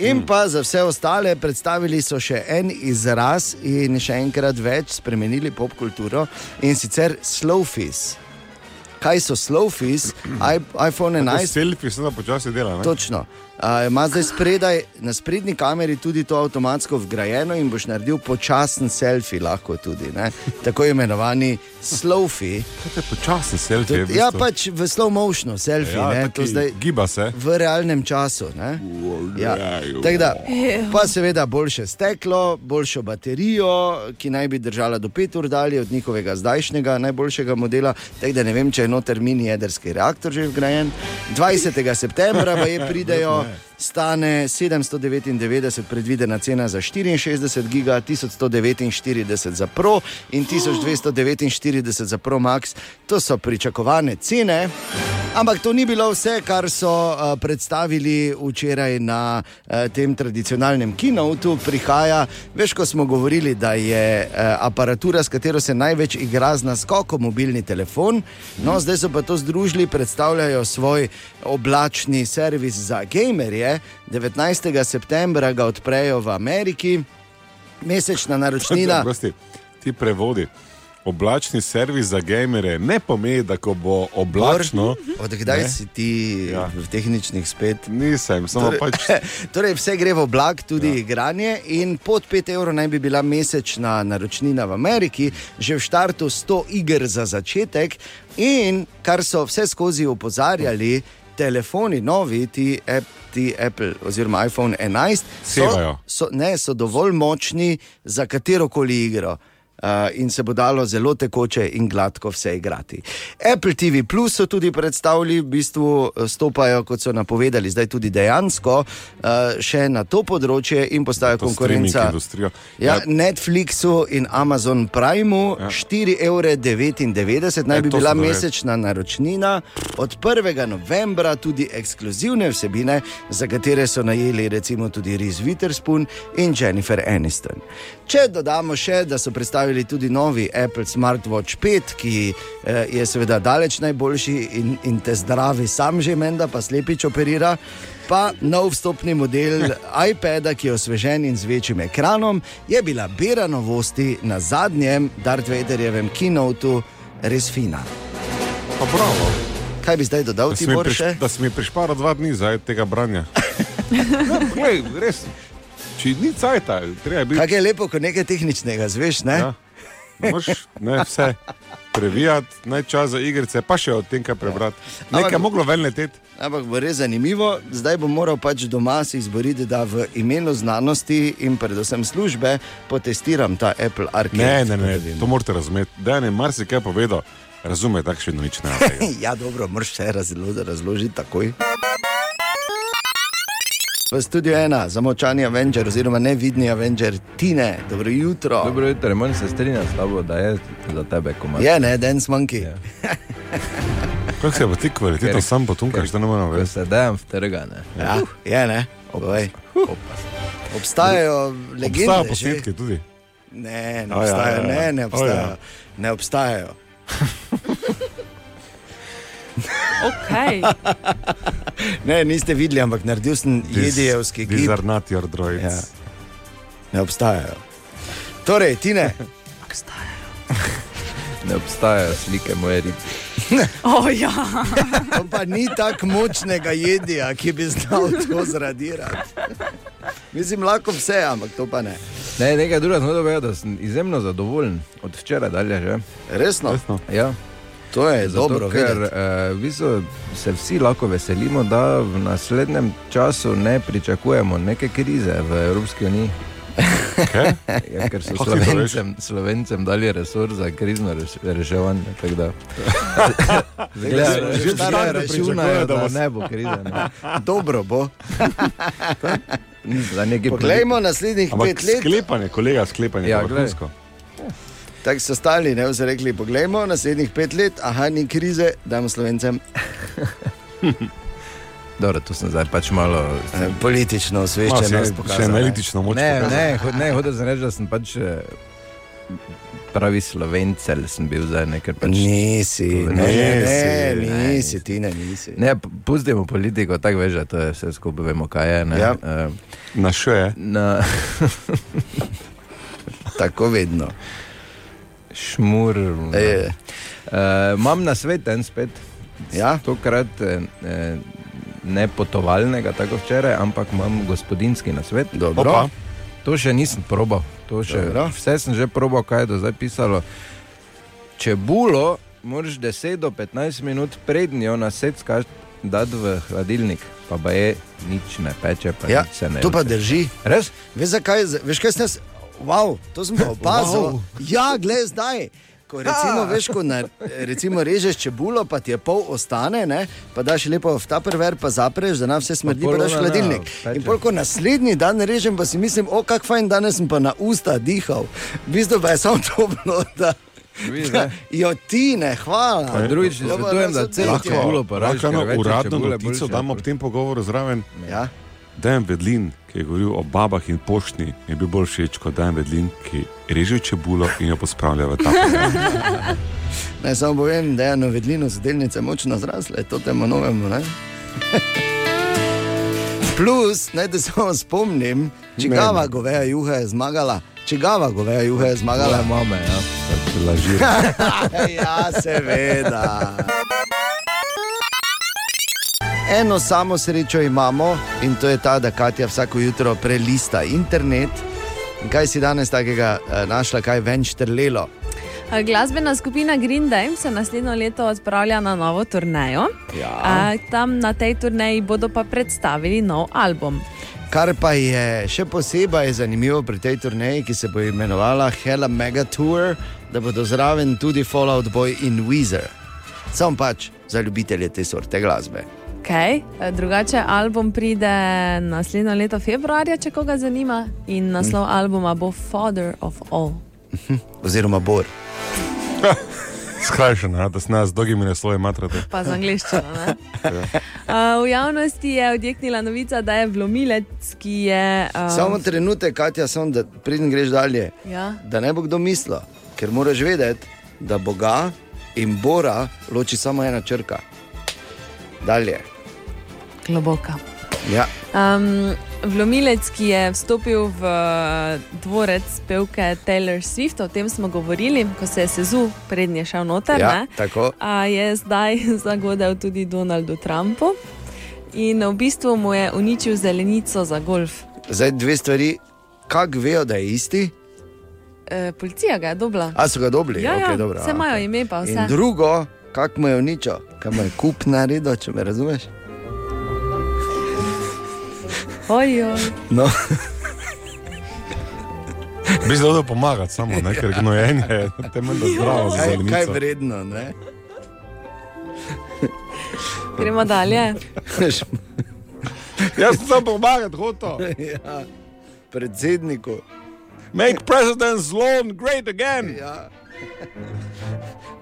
H: In pa za vse ostale predstavili so še en izraz in še enkrat več spremenili pop kulturo in sicer slowfis. Kaj so slowfis? iPhone 11
E: Selfie se da počasi dela. Ne?
H: Točno. A, ima zdaj spredaj, na sprednji kameri tudi to avtomatsko vgrajeno in boš naredil počasen selfie, lahko tudi, ne? tako imenovani slowfi.
E: Počasen selfie. je v
H: Ja,
E: bistvu.
H: pač v slow motionu selfie,
E: Ja,
H: ne,
E: taki
H: to zdaj
E: Giba se.
H: v realnem času. Ne? Ja. Tako Da, pa seveda boljše steklo, boljšo baterijo, ki naj bi držala do 5 ur dalje od njihovega zdajšnjega najboljšega modela. Tako da ne vem, če je noter mini jedrski reaktor že vgrajen. 20. septembra pa je pridejo. Stane 799, predvidena cena za 64 giga, 1149 za Pro in 1249 za Pro Max. To so pričakovane cene. Ampak to ni bilo vse, kar so uh, predstavili včeraj na uh, tem tradicionalnem kinovtu. Prihaja, veš, ko smo govorili, da je uh, aparatura, s katero se največ igra z naskokom, mobilni telefon. No, zdaj so pa to združili, predstavljajo svoj oblačni servis za gamerje. 19. septembra ga
E: Ja,
H: odprejo v Ameriki, mesečna naročnina.
E: Gosti, ti prevodi. oblačni servis za gamere ne pomeni, da ko bo oblačno.
H: Odkdaj
E: ne.
H: si ti ja. v tehničnih spet?
E: Nisem, samo
H: torej,
E: pač.
H: torej, vse gre v oblak, tudi ja. igranje. In pod 5 evrov naj bi bila mesečna naročnina v Ameriki, že v štartu 100 iger za začetek. In kar so vse skozi opozarjali, telefoni, novi, ti, app, ti Apple oziroma iPhone 11,
E: Sevajo.
H: so, so, ne, so dovolj močni za katero koli igro. Uh, in se bo dalo zelo tekoče in gladko vse igrati. Apple TV Plus so tudi predstavili, v bistvu eh, stopajo, kot so napovedali, zdaj tudi dejansko uh, še na to področje in postajo
E: To streaming
H: konkurenca.
E: industrijo.
H: Ja,
E: Ja.
H: Netflixu in Amazon Primeu ja. 4,99 evra naj
E: Ja,
H: bi
E: to
H: bila
E: sem dobil.
H: mesečna naročnina, od 1. novembra tudi ekskluzivne vsebine, za katere so najeli recimo tudi Reese Witherspoon in Jennifer Aniston. Če dodamo še, da so predstavili tudi novi Apple Smartwatch 5, ki eh, je seveda daleč najboljši in, in te zdravi, sam že menda, pa slepič operira. Pa nov vstopni model iPada, ki je osvežen in z večjim ekranom, je bila bera novosti na zadnjem Darth Vaderjevem keynotu res fina.
E: Pa bravo.
H: Kaj bi zdaj dodal,
E: Da si
H: ti
E: mi
H: moraš
E: priš-
H: še?
E: Da si mi prišpara dva dni zdaj tega branja. No, Glej, res. Če ni cajta, treba je biti.
H: Kaj je lepo, ko nekaj tehničnega zveš, ne?
E: Ja. Ne Moš, ne vse. Previjati, naj čas za igrice, pa še od tega prebrati. Nekaj je
H: Ja. Ampak-
E: moglo ven leteti.
H: Ampak bo res zanimivo, zdaj bo moral pač doma se izboriti, da v imenu znanosti in predvsem službe potestiram ta Apple
E: Ne,
H: Arcade.
E: ne, ne, to morate razumeti. Da je marsikaj povedal, razume, tako še vedno nič ne. razume.
H: ja, dobro, moraš vse razlo- razložiti takoj. V studiu ena, zamočani Avenger, oziroma nevidni Avenger, Tine, dobro jutro.
A: Dobro jutro, manj se strinjam s tabo, da je za tebe komaj.
H: Je, ne, Dance Monkey.
E: Ja.
H: Yeah.
E: Kako se pa ti kvalitetno
A: Ker-
E: sam potunkaš, da ne morem
A: Ko
E: več?
A: se dajem v trga, ne.
H: Ja, je, ne. Povej. Obstajajo legende.
E: Obstajajo
H: že.
E: posnetki tudi.
H: Ne, ne
E: A ja,
H: obstajajo.
E: ja, ja.
H: Ne, ne
E: A ja.
H: obstajajo. Ne obstajajo.
L: Okay.
H: Ne, niste videli, ampak naredil sem
E: These-
H: jedijevski
E: These
H: gib.
E: are not your droids.
H: Ja. Ne obstajajo. Torej, ti ne.
A: Ne obstajajo slike moje ribe.
L: Oh, ja.
H: On pa ni tako močnega jedija, ki bi znal to zradirati. Mislim, lahko vse, ampak to pa ne.
A: Ne, nekaj drugega sem dobil, da sem izjemno zadovoljen od včeraj dalje že.
H: Resno?
A: Ja.
H: To je
A: Zato,
H: dobro
A: ker
H: vedeti.
A: eh, v bistvu se vsi lahko veselimo, da v naslednjem času ne pričakujemo neke krize v Evropski uniji. Ja, ker so
E: Kako ti to veš?
A: slovencem, slovencem dali resor za krizno reš, reševanje. tako da. Zgleda,
H: Že
A: že
H: staro
A: staro
H: pričakujejo,
A: računajo,
H: da
A: da
H: bo-
A: ne bo krize. Ne.
H: Dobro bo.
A: Za nekaj
H: Poglejmo naslednjih
E: Ampak
H: pet let.
E: sklepanje, kolega, sklepanje.
A: Ja,
E: Ja,
A: glej.
H: Tako so stali, ne so rekli, poglejmo naslednjih pet let, aha, ni krize, damo slovencem.
A: Dobro, tu sem zdaj pač malo.
H: Eh, Politično
E: Malo si je
H: osveščenost.
E: No, še
H: pokazala, ne.
E: analitično moč
A: Ne,
E: pokazala.
A: ne, ho- ne hočem reči, da sem pač eh, pravi slovencelj, sem bil zdaj nekaj pač.
H: Nisi, ne, ne,
A: Nisi,
H: ne, nisi, ti ne, nisi.
A: Ne, p- pustimo politiko, tako veš, da to je vse skupaj vemo, kaj je. Ne?
H: Ja.
A: Eh,
E: Na še je.
A: Na
H: Tako vedno.
A: šmur. ne.
H: E,
A: Eh, Imam na svet en spet,
H: ja,
A: tokrat eh, eh, ne potovalnega, tako včeraj, ampak imam gospodinski na svet.
H: dobro.
E: Opa.
A: To še nisem probal. To Še,
H: Dobro.
A: vse sem že probal, kaj je do zdaj pisalo. Čebulo moraš 10 do 15 minut prednjo na seckaš dati v hladilnik, pa, pa je nič ne peče, pa
H: Ja,
A: nič se ne.
H: to pa
A: ruši.
H: drži.
A: Res?
H: Veš, zakaj, veš, kaj sem jaz? Wow, to sem pa opazil. Wow.
A: Wow. Ah.
H: Ja, gled zdaj. Ko recimo, veš, ko na, recimo režeš čebulo, pa ti je pol ostane, ne? pa daš lepo v ta prver, pa zapreš, da nam vse smrdi, pa,
A: pol
H: pa daš v
A: ona,
H: hladilnik.
A: peče.
H: In pol, ko naslednji dan režem, pa si mislim, o, kak fajn, danes sem pa na usta dihal. V bistvu pa je samo to bilo, da,
A: Vidiš,
H: da
A: ne?
H: jo ti ne, hvala.
A: Pa drugič ti
H: Ja, pa
A: svetujem,
H: res
A: da celo
H: odjetje.
A: čebulo porabiš.
E: Lahko eno
A: ker več je
E: uradno
A: čebule
E: notico
A: boljše.
E: dam ob tem pogovoru zraven.
H: Ja,
E: Dan Vedlin, ki je govoril o babah in poštni, mi je bil bolj všeč kot Dan Vedlin, ki reže čebulo in jo pospravlja v ta pogled.
H: naj samo povem, da je novedlino so delnice močno zrasle, to temu novemu. Ne? Plus, naj te samo spomnim, čigava goveja juha je zmagala, čigava goveja juha je zmagala.
A: Moje mame, ja. lažirati.
H: ja, seveda. Eno samo srečo imamo in to je ta, da Katja vsako jutro prelista internet. In kaj si danes takega eh, našla, kaj je ven štrlelo?
L: A, Glasbena skupina Green Day se naslednjo leto odpravlja na novo turnejo. A, Tam na tej turneji bodo pa predstavili nov album.
H: Kar pa je še posebej zanimivo pri tej turneji, ki se bo imenovala Hela Mega Tour, da bodo zraven tudi Fallout Boy in Weezer. Sam pač za ljubitelje te sorte glasbe.
L: Okay. E, Drugače, album pride naslednjo leto februarja, če koga zanima, in naslov
H: Mm.
L: albuma bo Father of All.
H: Oziroma, Bor.
E: Skrajšana, da se nas z dolgimi naslovi matrate.
L: Pa z angliščino. ne?
E: Ja.
L: A, V javnosti je odjeknila novica, da je vlomilec, ki je. a,
H: Samo trenutek, Katja, samo da pridem greš dalje.
L: Ja.
H: Da ne bo kdo mislil, ker moraš vedeti, da Boga in Bora loči samo ena črka. Dalje.
L: Globoka.
H: Ja.
L: Um, vlomilec, ki je vstopil v eh, dvorec pevke Taylor Swift, o tem smo govorili, ko se je sezul, prednje šel noter.
H: ja,
L: ne?
H: tako.
L: A je zdaj zagodel tudi Donaldu Trumpu in v bistvu mu je uničil zelenico za golf.
H: Zdaj dve stvari, kako vejo, da je isti,
L: E, policija ga je dobila.
H: a so ga dobili.
L: ja,
H: okay,
L: ja,
H: dobro,
L: vse
H: a.
L: imajo ime, pa vse.
H: In drugo, kako mu je uničil, kaj mu je kup naredil, če me razumeš.
L: Ojo,
H: No.
E: Bi zelo dobro pomagal, samo ne, ker gnojenje je temeljno zdravo. za
H: Kaj, kaj
E: zelenico.
H: vredno, ne?
L: gremo dalje.
E: Jaz sem samo pomagal, hotel.
H: ja. Predsedniku.
E: Make president's lawn great again.
H: Ja.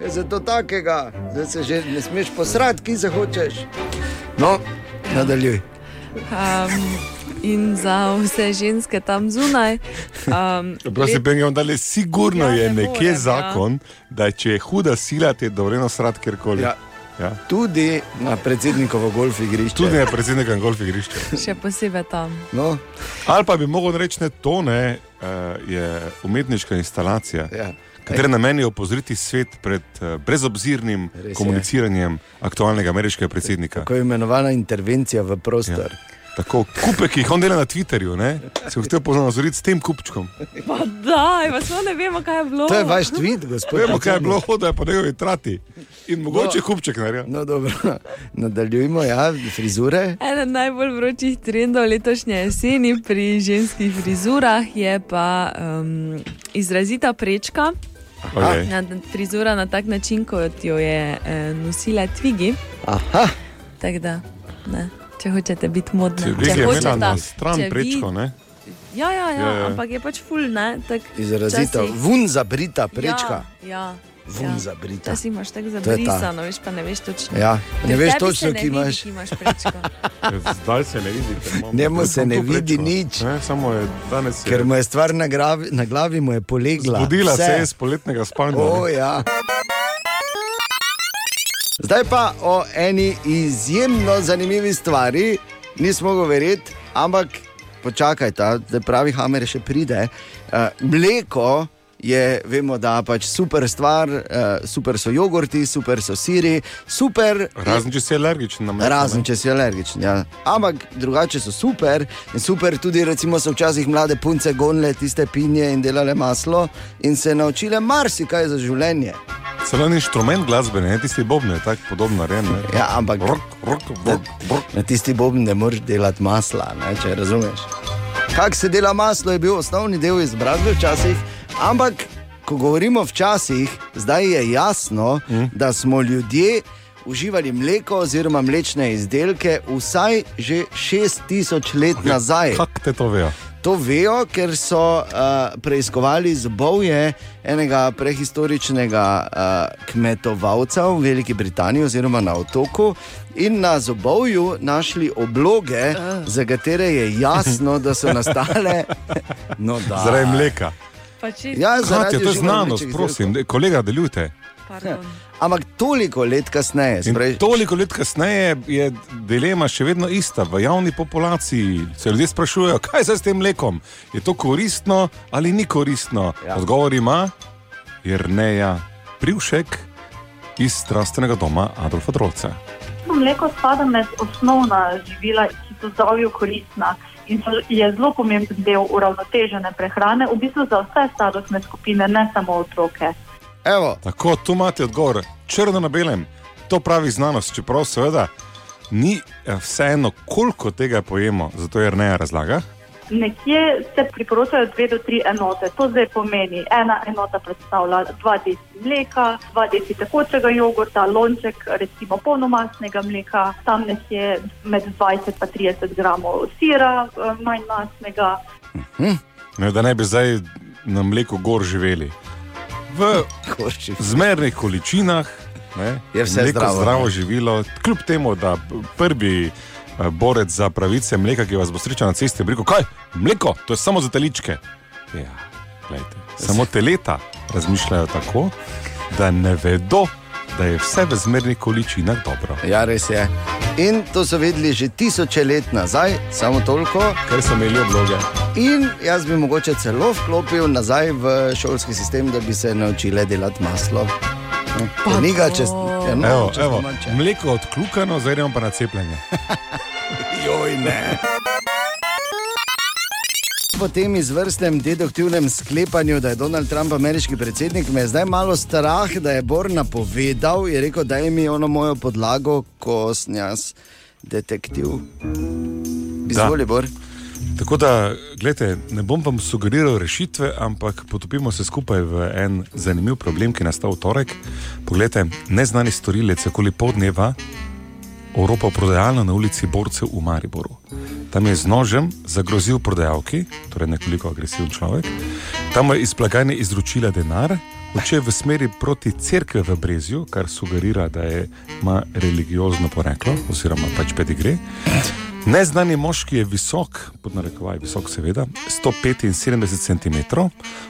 H: Je zato Ja, takega, zdaj se že ne smeš posrati, ki se hočeš. No, nadaljuj.
L: Um, in za vse ženske tam zunaj. Um,
E: Prosim, Benjamin, da le sigurno ja, je
L: ne
E: nekje
L: morem, ja.
E: more, zakon, ja. da če je huda sila, ti je dovoljeno srat kjerkoli.
H: Ja.
E: Ja.
H: Tudi na predsednikovo golf igrišče.
E: Tudi na predsednikovem golf igrišču.
L: Še posebej tam.
H: No.
E: Ali pa bi mogel reči, da to ne eh, je umetniška instalacija,
H: ja.
E: katera namen je opozoriti svet pred eh, brezobzirnim
H: je.
E: Res komuniciranjem je. aktualnega ameriškega predsednika.
H: Tako je imenovana intervencija v prostor.
E: Ja. Tako kupe, ki jih on dela na Twitterju, ne? se je hotel pozoriti s tem kupčkom.
L: Pa daj, pa samo ne vemo, kaj je bilo.
H: To je vaš tweet, gospod.
E: Vemo, kaj je bilo,
H: predsednik.
E: hoda je po njegovi trati. In mogoče kupček naredil.
H: No, dobro. Nadaljujmo, ja, frizure.
L: Eden najbolj vročih trendov letošnje jeseni pri ženskih frizurah je pa um, izrazita prečka.
H: Okej.
L: Na, frizura na tak način, kot jo je eh, nosila Twigi.
H: Aha.
L: Tako da, ne, če hočete biti modni,
H: no.
E: Twigi je
L: če
E: imela
L: hočete
E: na stran prečko, ne?
L: Ja, ja, ja,
E: Ja, ja.
L: ja, ampak je pač ful, ne. tak
H: Izrazito,
L: včasih-
H: vun zabrita prečka.
L: Ja, ja,
H: Vun zabrita.
L: Včasih imaš tako
H: To je ta.
L: zabrisano, veš pa ne veš točno.
H: Ja,
L: Pri
H: ne
L: tebi
H: veš
L: se
H: točno,
L: ne
H: ki
L: vidi,
H: imaš.
L: ki imaš prečko.
E: Zdaj se ne vidi. ker imamo-
H: Ja. Njemu se
E: Samo
H: ne
E: to
H: vidi
E: prečko.
H: nič.
E: Ne, samo je danes. je-
H: Ker mu je stvar na, gravi, na glavi, mu je polegla.
E: Zbudila
H: Vse.
E: se je iz poletnega spanja.
H: O, ja. Zdaj pa o eni izjemno zanimivi stvari, nismo mogli verjeti, ampak počakajte, da pravi Hamer še pride. Uh, mleko je, vemo, da pač super stvar, uh, super so jogurti, super so siri, super.
E: Razen če si alergičen na mleko.
H: Razen če si alergičen. Ja. Ampak drugače so super. In super tudi, recimo, so včasih mlade punce gonile tiste pinje in delale maslo in se naučile marsikaj za življenje.
E: Celo en inštrument glasbene, ne tisti bobne, je tako podobno rejeno.
H: Ja, ampak
E: brk, brk, brk, brk.
H: Na tisti bobni ne moreš delati masla, ne, če razumeš. Kako se dela maslo, je bil osnovni del izobrazbe včasih, ampak ko govorimo včasih, zdaj je jasno, mm. da smo ljudje uživali mleko oziroma mlečne izdelke vsaj že 6000 let okay. nazaj.
E: Kako te to vejo?
H: To vejo, ker so uh, preiskovali zbovje enega prehistoričnega uh, kmetovalca v Veliki Britaniji, oziroma na otoku, in na zbovju našli obloge, za katere je jasno, da so nastale no, da.
E: Zaradi mleka.
L: Pa če
H: Ja, zaradi
E: Katja, to je
H: uživanja
E: znanost,
H: mlečnih
E: prosim, de- kolega, delujte.
H: Ampak toliko let kasneje,
E: In Toliko let kasneje je dilema še vedno ista. V javni populaciji se ljudje sprašujejo, kaj je zdaj s tem mlekom. Je to koristno ali ni koristno? Ja. Odgovor ima Irneja Privšek iz strastvenega doma Adolfa Drolce.
N: Mleko spada med osnovna živila, ki so zdravju koristna in so, je zelo pomemben del uravnotežene prehrane, v bistvu za vse starostne skupine, ne samo otroke.
E: Evo. Tako, tu imate odgovor, črno na belem. To pravi znanost, čeprav seveda ni eh, vseeno, koliko tega pojemo, zato je Rneja razlaga.
N: Nekje se priporočajo dve do tri enote. To zdaj pomeni, ena enota predstavlja dva deci mleka, dva deci tekočega jogurta, lonček recimo polnomastnega mleka, tam nekje med 20 in 30 gramov sira, eh, manj masnega.
E: Ne, da ne bi zdaj na mleku gor živeli. V zmernih količinah ne,
H: Je vse
E: mleko
H: zdravo,
E: zdravo
H: ne.
E: živilo, kljub temu, da prvi eh, borec za pravice mleka, ki vas bo srečal na cesti, je rekel: Kaj, mleko, to je samo za teličke. Ja, glejte, samo teleta razmišljajo tako, da ne vedo, da je vse v zmernih količinah dobro.
H: Ja, res je. In to so vedeli že tisoče let nazaj, samo toliko,
E: ker so imeli obloge.
H: In jaz bi mogoče celo vklopil nazaj v šolski sistem, da bi se naučile delati maslo. Pa ni ga čez eno
E: Evo,
H: No, čez
E: evo,
H: domače.
E: mleko odkljukano, zdaj gremo pa na cepljenje.
H: Joj, ne. Po tem izvrstnem deduktivnem sklepanju, da je Donald Trump ameriški predsednik, me je zdaj malo strah, da je Bor napovedal in rekel, da je mi ono mojo podlago, ko sem jaz detektiv. Izvoli, Bor.
E: Tako da, gledajte, ne bom vam sugeriral rešitve, ampak potopimo se skupaj v en zanimiv problem, ki je nastal v torek. Poglejte, neznani storilec je okoli podneva oropal prodajalno na ulici Borcev v Mariboru. Tam je z nožem zagrozil prodajalki, torej nekoliko agresiven človek. Tam mu je iz blagajne izročila denar, odšel je v smeri proti cerkvi v Brezju, kar sugerira, da je, ima religiozno poreklo, oziroma pač pedigre. Neznani moški je visok, pod narekovaj, visok, seveda, 175 cm,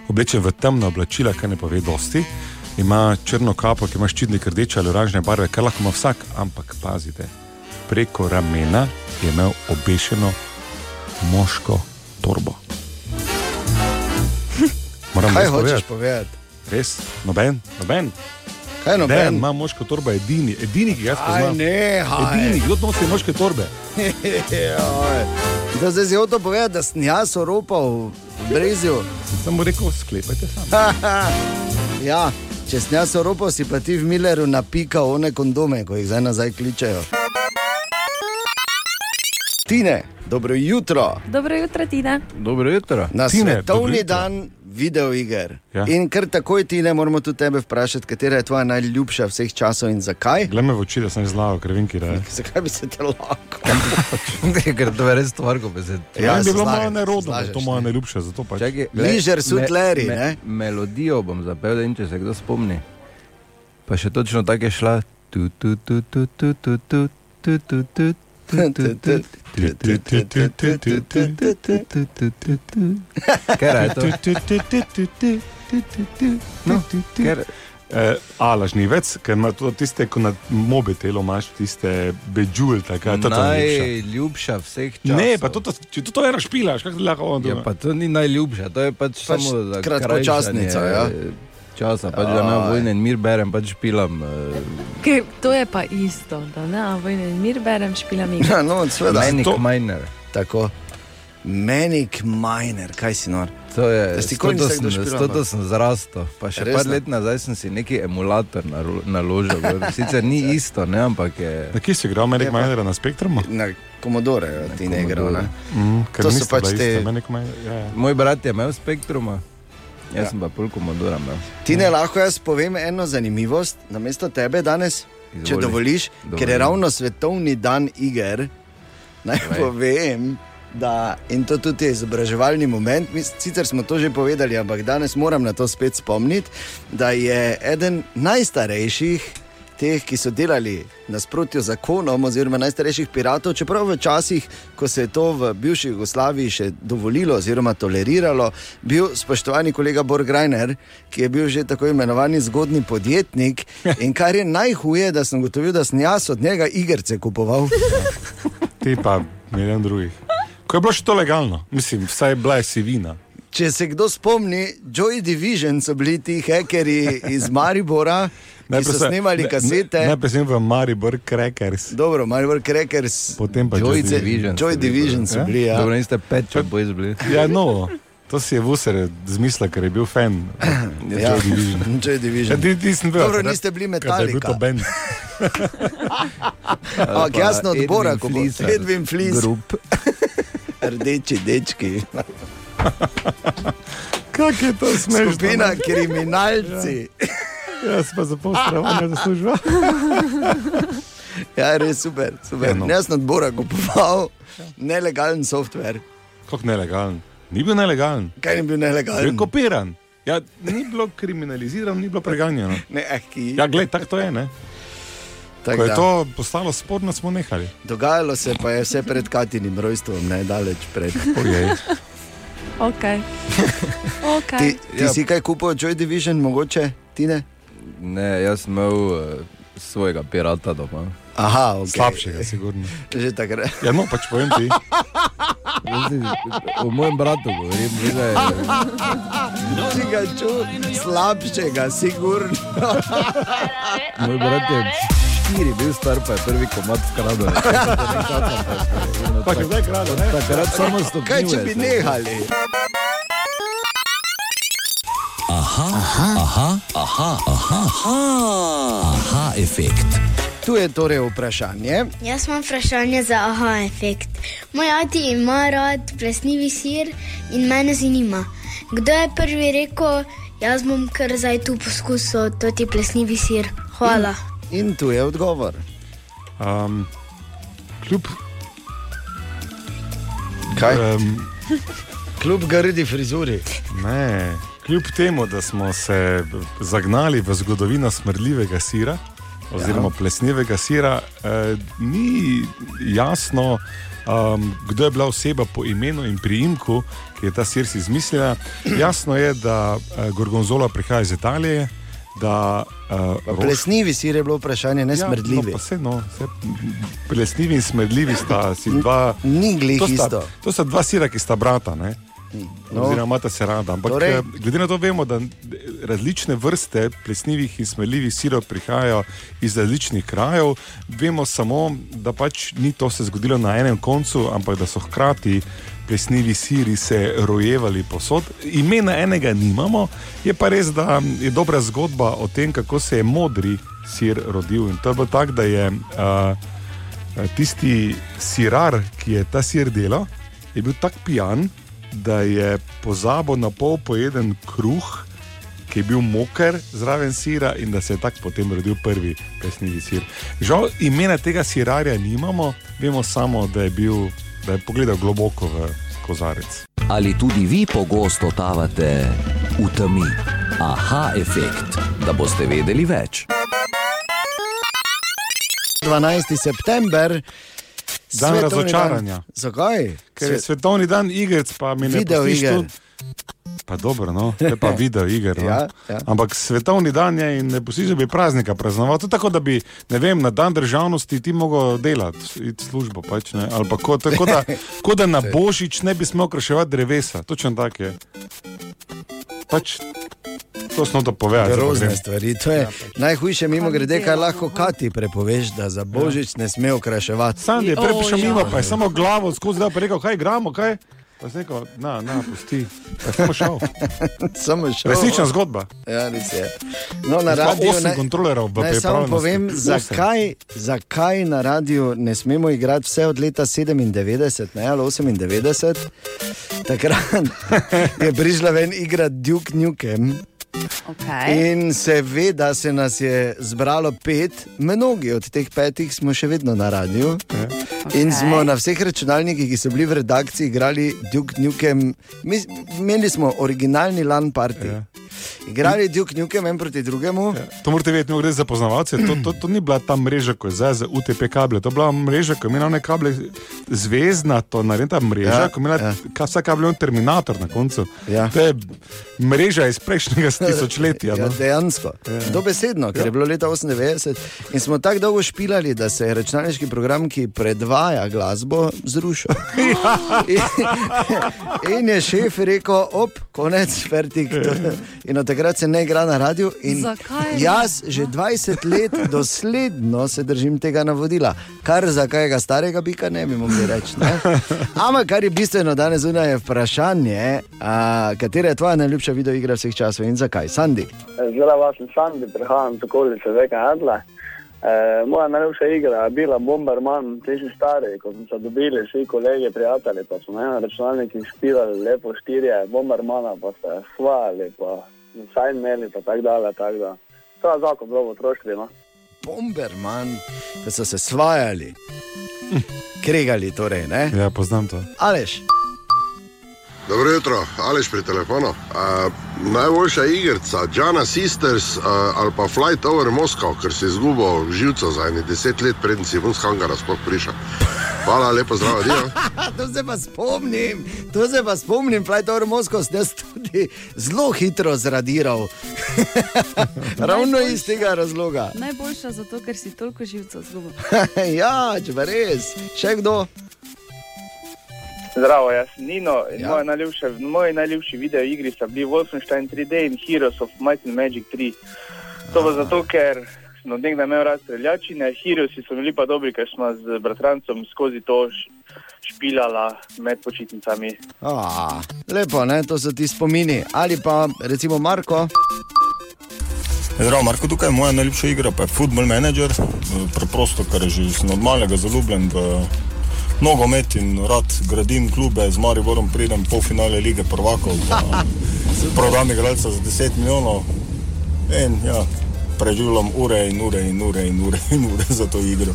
E: oblečen v temna oblačila, kar ne pove dosti. Ima črno kapo, ki ima ščitnik rdeče ali oranžne barve, kar lahko ima vsak, ampak pazite, preko ramena je imel obešeno moško torbo. Moram
H: Kaj
E: res
H: hočeš
E: povedati?
H: povedati?
E: Res, noben, noben.
H: Kaj noben?
E: Dejan Ima moško torbo, edini, edini, ki ga jaz
H: Aj,
E: poznam.
H: ne, haj.
E: edini, kdo nosi moške torbe.
H: Joj. Da zdaj zelo to povedati, da sem jaz oropal v Brezju.
E: Samo rekel, sklepajte
H: ja, če sem jaz oropal, si pa ti v Milleru napikal one kondome, ko jih zdaj nazaj kličejo. Tine, dobro jutro.
L: Dobro jutro, Tina.
A: Dobro jutro.
H: Na
A: Tine,
H: Tine,
A: dobro
H: svetovni
A: jutro.
H: dan videoiger.
A: Ja.
H: Ja. In kar takoj ti ne moramo tudi tebe vprašati, katera je tvoja najljubša vseh časov in zakaj.
E: Glej me v oči, da sem zlav, ker vem, kje
A: Ja.
E: je.
H: Zakaj bi se te lahko?
A: Ker to je res stvar, ko bi se
E: Ja, Meni bi bilo malo nerodno, da je to moja najljubša. zato Pač.
A: Me- me- Melodijo bom zapel, da in če se kdo spomni. Pa še točno tako je šla. Tu, tu, tu, tu, tu, tu, tu, tu, tu, tu, tu, tu, tu. Ker je to?
E: No, ker... Eh, Alažnivec, ker ima to tiste, ko na mobitelu imaš tiste bežul, tako da
A: Najljubša vseh časov.
E: Ne, pa to, to, če to ena špila, kako lahko on
A: Ja, pa to ni najljubša, to je pač,
E: Pač
A: samo za
E: kratkočasnica,
A: krajšanje,
E: ja.
A: eh, Časa, pač, da ne
E: Aj.
A: vojne in mir berem, pač pilam.
L: Ker to je pa isto, da ne, a vojne mir berem, špilam
H: Ja.
L: igro.
H: no,
A: Menik
H: To-
A: Miner.
H: Tako. Menik Miner, kaj si no, nor?
A: To je,
H: Da si
A: s
H: nikoli
A: to
H: nisi
A: sem,
H: kdo špilan,
A: s to
H: no.
A: sem zrastel. Pa še
H: Res,
A: par
H: ne?
A: let nazaj sem si neki emulator naro- naložil. gor. Sicer ni isto, ne, ampak je.
E: Na kje si igral Menik Minera na spektrumu?
H: Na Commodore, ja, ti ne igral. ne?
E: Mm, ker
H: To so
E: mislim, da
H: pač
E: isto,
H: te-
E: Manic Miner, ja, ja.
A: Moj brat je imel spektruma, jaz
H: Ja.
A: ja. sem pa pol komodora imel.
H: Ti ne lahko jaz povem eno zanimivost na mesto tebe danes, Izvoli. če
A: Izvoli.
H: dovoliš,
A: Dovolim.
H: Dovolim. ker je ravno svetovni dan iger. Naj
A: Povej.
H: povem, da in to tudi je izobraževalni moment. Mi, s- sicer smo to že povedali, ampak danes moram na to spet spomniti, da je eden najstarejših. Teh, ki so delali nasprotju zakonom, oziroma najstarejših piratov, čeprav v časih, ko se je to v bivši Jugoslaviji še dovolilo, oziroma toleriralo, bil spoštovani kolega Borgrajner, ki je bil že tako imenovani zgodni podjetnik. In kar je najhuje, da sem gotovil, da sem jaz od njega igrice kupoval.
E: Ti pa milijon drugih. Ko je bilo še to legalno, mislim, vsaj bila je sivina.
H: Če se kdo spomni, Joy Division so bili ti hekerji iz Maribora, ki so snemali kasete.
E: Najprej sem v Maribor Crackers.
H: Dobro, Maribor Crackers.
E: Potem pa
H: Joy
E: Joy
H: Di-
E: Division.
H: Joy Division so bili, ja.
E: Dobro,
A: niste pet, če bo izbili.
E: Ja, no. To si je Vuser zmislil, ker je bil fan.
H: Ja, Joy Division.
E: Ja, ti, ti sem bil.
H: Dobro, niste bili
E: Kadar je bil to
H: Metallica.
E: band.
H: Ampak jasno
E: Edwin eh,
H: odbora, kot bo
E: Flisar.
H: Edwin Flis.
E: Grup.
H: Rdeči dečki.
E: Kak je to smešno? no?
H: Skupina kriminalci.
E: Ja. Jaz pa za pol stravanja zaslužil.
H: Ja, res super. super. Ja, no. Jaz sem odbora kupoval nelegalen software.
E: Kako nelegalen? Ni bil nelegalen.
H: Kaj ni bil nelegalen?
E: Bil je kopiran. Ja, ni bilo kriminalizirano, ni bilo preganjeno.
H: Ne, eh, ki...
E: Ja, gled, tako to je. Ne?
H: Tak
E: Ko je
H: da.
E: to postalo sporno, smo nehali.
H: Dogajalo se pa je vse pred Katinim rojstvom, ne daleč pred.
E: Ojej.
L: Okay. Okay.
H: Ti, ti ja. si kaj kupil, Joy Division, mogoče ti ne?
A: Ne, jaz sem imel uh, svojega pirata doma.
H: Aha, okay.
E: Slabšega, sigurno.
H: Že takrat.
E: Ja, no, pač povem ti.
A: O mojem bratu govorim, ni da je.
H: Tega čut, slabšega, sigurno.
A: Moj brat je štiri, bil star pa je prvi komat skradel.
E: Pa je zdaj kradel, ne?
A: Takrat samo stopil.
H: Kaj če bi nehali?
O: Aha, aha, aha, aha, aha, aha, efekt.
H: Tu je torej vprašanje.
P: Jaz imam vprašanje za aha efekt. Moj ati ima rad plesnivi sir in mene zanima, kdo je prvi rekel, jaz bom kar zdaj tu poskusil to ti plesnivi sir. Hvala.
Q: Mm.
H: In tu je odgovor.
E: Um, kljub.
H: Kaj?
E: Um,
H: kljub grdi frizuri.
E: Ne. Kljub temu, da smo se zagnali v zgodovino smrdljivega sira, oziroma ja. plesnevega sira, eh, ni jasno, um, kdo je bila oseba po imenu in priimku, ki je ta sir si izmislila. Jasno je, da eh, Gorgonzola prihaja iz Italije. Da, uh,
H: Plesnivi sir je bilo vseeno, ne smrdljivi.
E: Ja, no, pa saj, no, saj, plesnivi in smrdljivi sta si dva.
H: Ni glih
E: to sta-
H: isto.
E: To sta dva sira, ki sta brata. Ne?
H: No.
E: No. Oziroma, imata se rada. Ampak,
H: Torej.
E: torej. glede na to, vemo, da različne vrste plesnivih in smeljivih sirov prihajajo iz različnih krajev. Vemo samo, da pač ni to se zgodilo na enem koncu, ampak da so hkrati plesnivi siri se rojevali posod. Imena enega nimamo, je pa res, da je dobra zgodba o tem, kako se je modri sir rodil. In to je bilo tako, da je. Uh, tisti sirar, ki je ta sir delal, je bil tako pijan, da je pozabil na pol pojeden kruh, ki je bil moker zraven sira in da se je tako potem rodil prvi pesnivi sir. Žal imena tega sirarja nimamo, vemo samo, da je, bil, da je pogledal globoko v kozarec.
O: Ali tudi vi pogosto totavate v temi? Aha, efekt, da boste vedeli več.
H: 12. september.
E: Dan
H: svetovni
E: razočaranja.
H: Dan- Zakaj?
E: Ker je svetovni dan igric, pa mi ne
H: Video
E: pustiš
H: iger.
E: tu. Pa dobro, no, to je pa video iger. No.
H: Ja, ja.
E: Ampak svetovni dan je in ne pustiš, da bi praznika praznoval. To je tako, da bi, ne vem, na dan državnosti ti mogel delati, iti v službo pač, ne. Ali pa ko, tako, da, ko da na božič ne bi smel krševati drevesa. Točno tako je. Pač, to smo to povedali. zdaj pa
H: Grozne
E: grem.
H: stvari. To je najhujše, mimo grede, kaj lahko Kati prepoveš, da za božič ne sme okraševati.
E: Sam je prej prišel mimo, pa je samo glavo skozi, da je rekel, kaj igramo, kaj. Pa sem rekel, na, na, pusti. Pa je samo šel.
H: samo šel.
E: Resnična zgodba.
H: Ja, res je. No, na
E: Jaz pa
H: radiju
E: osem
H: naj-
E: kontrolerjev v
H: naj Samo
E: pripravljenosti.
H: povem,
E: Osem.
H: zakaj, zakaj na radiju ne smemo igrati vse od leta 97 ne, ali 98. Takrat je prišla ven igra Duke Nukem.
L: Okay.
H: In seveda se nas je zbralo pet, mnogi od teh petih smo še vedno na radiju. Okay. In smo na vseh računalnikih, ki so bili v redakciji, igrali Duke Nukem, Mi, imeli smo originalni LAN party. Yeah. Igrali Duke Nukem en proti drugemu. Ja.
E: To morate vedeti, no gre za poznavalce. To, to, to ni bila ta mreža, ko je zdaj za UTP kable, to je bila mreža, ko je imela one kable, zvezdna, to narejena mreža,
H: Ja,
E: ja, ko je imela ja. vsak kabel en terminator na koncu. Ja. To je mreža iz prejšnjega
H: Ja,
E: tisočletja. No?
H: dejansko.
E: Ja.
H: Dobesedno, ker je bilo leta 98 in smo tako dolgo špilali, da se je računalniški program, ki predvaja glasbo, zrušil.
E: Ja.
H: in, in je šef rekel, op, konec, vertik.
E: Ja.
H: In od takrat se ne igra na radiju. In
L: Zakaj ne?
H: Jaz že 20 let dosledno se držim tega navodila, kar za kajega starega bika ne bi mogli reči. ne. Ampak kar je bistveno danes zunaj, je vprašanje, a, katera je tvoja najljubša videoigra vseh časov in zakaj? Sandi.
Q: Zelo vas sem sam, da prihajam iz okolice Veka Adla. E, moja najljubša igra je bila Bomberman, ti si stari, ko smo se dobili, vsi kolegi, prijatelji, pa smo na računalnikih špilali lepo štirje, Bombermana pa se svali, pa vsaj imeli, pa tako dalje, tako da. To je zakon bilo v otroštvu, no.
H: Bomberman, da so se svajali, kregali. Torej, ne?
E: ja, poznam to.
H: Aleš,
R: Dobro jutro, Aleš pri telefonu. Uh, najboljša igrica, Džana Sisters uh, ali pa Flight over Moskva, ker si izgubil živca za ene deset let, preden si ven z hangara sploh prišel. Hvala, lepo zdrav, Dio.
H: to se pa spomnim, to se pa spomnim, Flajtor Moskov, sem jaz tudi zelo hitro zradiral. Ravno iz tega razloga.
G: Najboljša zato, ker si toliko živcev zgubil.
H: ja, če pa res, še kdo.
Q: Zdravo, jaz sem Nino in ja. moja najljubša, moji najljubši videoigri so bili Wolfenstein 3D in Heroes of Might and Magic 3. To pa zato, ker sem od nekdaj imel rad streljačine, Heroesi so bili pa dobri, ker smo z bratrancem skozi to š- špilala med počitnicami.
H: Ah, lepo, ne? to so ti spomini. Ali pa recimo Marko.
S: Zdravo, Marko, tukaj je moja najljubša igra, pa je Football Manager, Eh, preprosto, ker že sem od malega zaljubljen v nogomet in rad gradim klube, z Mariborom pridem po finale lige prvakov, pa prodam igralca za 10 milijonov in ja, preživljam ure in ure in ure in ure, in ure za to igro.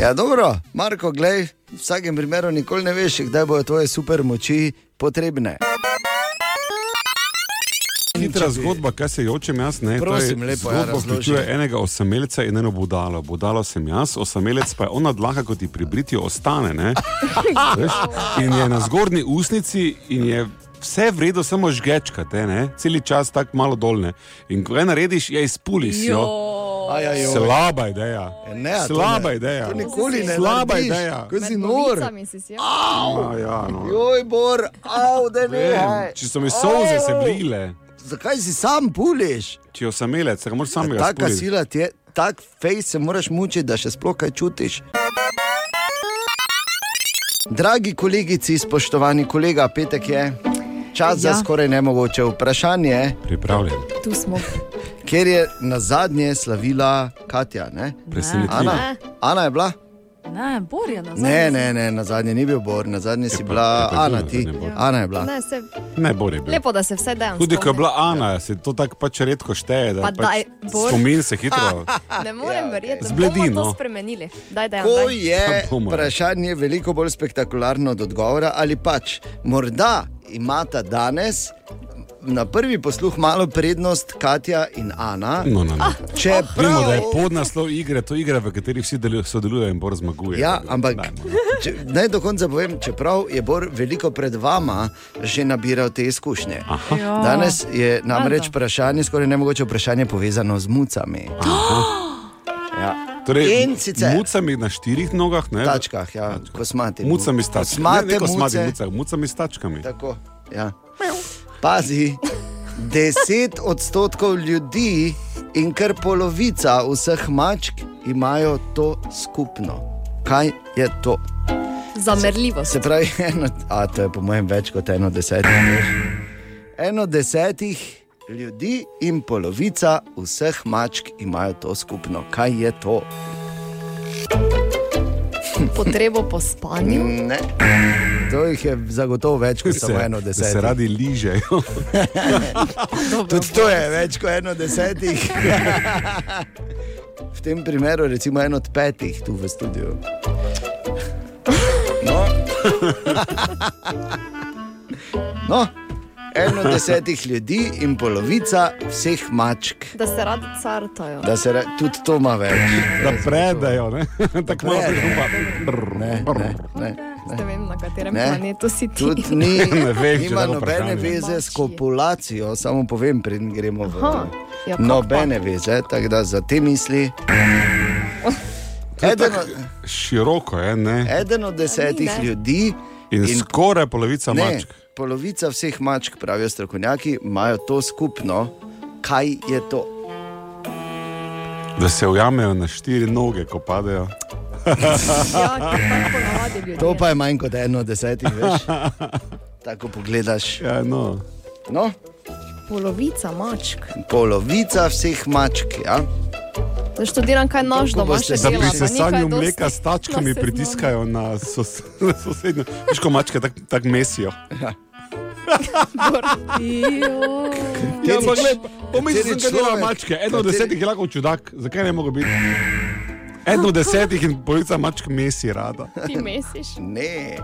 H: Ja, dobro, Marko, glej, v vsakem primeru nikoli ne veš, kdaj bojo tvoje super moči potrebne.
E: Hitra zgodba, kaj se jočem jaz, ne
H: Prosim,
E: to je,
H: lepo, ja,
E: zgodba
H: razloži.
E: vključuje enega osamelca in eno budalo. Budalo sem jaz, osamelec pa je ona dlaka, kot ti pri britju ostane. Ne? Veš? In je na zgornji usnici in je vse v redu, samo žgečka te, ne? celi čas tako malo dolne. In ko je narediš, je izpuliš.
H: Ajajoj.
E: Slaba ideja.
H: E, Ne, a to
E: Slaba
H: ne.
E: ideja.
H: To nikoli ne
E: Slaba
H: narediš.
E: ideja.
H: Ko si nor.
E: A, ja, no.
H: Joj, bor, av, da ne.
E: Vem, če so mi solze se
H: Au.
E: vlile,
H: Zakaj si sam puliš?
E: če je osamelec, se ga moraš samega
H: Taka
E: spuliti.
H: sila ti je, tak fejs se moraš mučiti, da še sploh kaj čutiš. Dragi kolegici, spoštovani kolega, petek je čas ja. za
L: Ja.
H: skoraj nemogoče vprašanje.
E: Pripravljen.
L: Tu smo.
H: Ker je na zadnje slavila Katja, ne?
L: Presenetljivo.
H: Ana, Ana je bila?
L: Ne, Borja nazaj.
H: Ne, ne, ne, na zadnje ni bil Bor, na zadnje si bila Ana, ti. Ana je bila.
L: Ja. Ne, se,
E: Ne, Bori.
L: lepo, da se vse dejansko.
E: Tudi ko je bila Ana, se to tako pač redko šteje. Da
L: Pa
E: pač
L: daj, Bor. Ah.
E: spomin se hitro.
L: Ne morem verjeti, da
E: Zbledi,
L: bomo to
E: no.
L: spremenili. Daj, daj,
H: Ko
L: daj.
H: je
E: Pa Ja, bomo.
H: vprašanje veliko bolj spektakularno od odgovora, ali pač morda imata danes na prvi posluh malo prednost Katja in Ana.
E: No, no, no.
H: Če
E: Vemo, da
H: prav,
E: je podnaslov igre, to je igra, v kateri vsi delu- sodelujejo in Bor zmaguje.
H: Ja, ampak če, naj do konca povem, čeprav je Bor veliko pred vama že nabiral te izkušnje.
L: Ja.
H: Danes je namreč
L: Valjda.
H: vprašanje, skoraj nemogoče vprašanje, povezano z mucami. Ja.
E: Torej,
H: in sicer
E: mucami na štirih nogah, ne?
H: Tačkah, ja, kosmati.
E: Mucami s tačkami.
H: Kosmate
E: ne, ne kosmati,
H: muce.
E: mucami, mucami s tačkami.
H: Tako. Ja. Pazi, 10 odstotkov ljudi in kar polovica vseh mačk imajo to skupno. Kaj je to?
L: Zamerljivo.
H: Se pravi, eno, a to je po mojem več kot eno desetih. Eno desetih ljudi in polovica vseh mačk imajo to skupno. Kaj je to?
L: Potrebo po spanju.
H: Ne. To jih je zagotovo več kot
E: Se-
H: samo eno
E: da se
H: desetih.
E: radi ližejo.
H: Tudi to je več kot eno desetih. v tem primeru, recimo, en od petih tu v studiu. No. no. en od desetih ljudi in polovica vseh mačk.
D: Da se radi cartajo.
H: Da se ra- tudi to ima več. Da predajo, tako malo prihumba.
D: Ne vem, na katerem
H: Ne.
D: planetu si ti.
H: Tudi ni,
D: Ne vem, če
H: nima
D: tako
H: nobene
D: vprašanje.
H: veze s kopulacijo, samo povem, preden gremo v
D: Aha. Ja, kako
H: Nobene veze, tako da za te misli. Eden od,
E: Široko je, ne?
H: eden od desetih
E: ne.
H: ljudi.
E: In skoraj polovica
H: ne,
E: mačk.
H: Polovica vseh mačk, pravijo strokovnjaki, imajo to skupno. Kaj je to?
E: Da se ujamejo na štiri noge, ko padejo.
H: To pa je manj kot eno od desetih, veš. Tako pogledaš.
E: Ja, no.
H: no,
D: Polovica mačk.
H: polovica veh mačk. Ja?
D: Da študiram, kaj nož
E: Da
D: doma še dela.
E: pri
D: pa nehaj
E: sesanju
D: dosti
E: mleka s tačkami
D: na seznamu.
E: pritiskajo na, sos, na sosednjo. Veš, ko mačke tako tak mesijo. Ja. Ja, ampak gled, pomisli,
D: Kateri
E: sem kaj dela
D: človek?
E: mačke. Eno od
D: Kateri-
E: desetih je lahko čudak, zakaj ne mogo biti? Eno od desetih in polovica mačk mesi rada.
D: Ti mesiš?
H: Ne.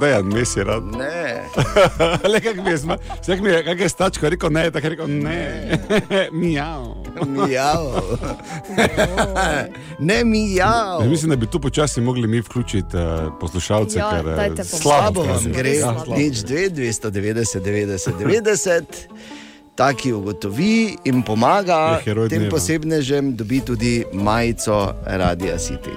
E: Dejan, mesi rada.
H: Ne.
E: Le kak mi je, zma- vsak mi je, kak je stačko, je rekel ne, tako je rekel ne. Mijav.
H: Mijav. ne mijav.
E: Ne, mislim, da bi tu počasi mogli mi vključiti uh, poslušalce,
H: Ja,
E: ker eh,
H: dajte pomoč. Slabo vam
E: kaže.
H: gre.
E: Ja, slabo.
H: Nič 2, 290, 90, 90. Ta, ki ugotovi in pomaga
E: Je Ja, heroj
H: tem
E: dneva.
H: posebnežem, dobi tudi majico Radia City.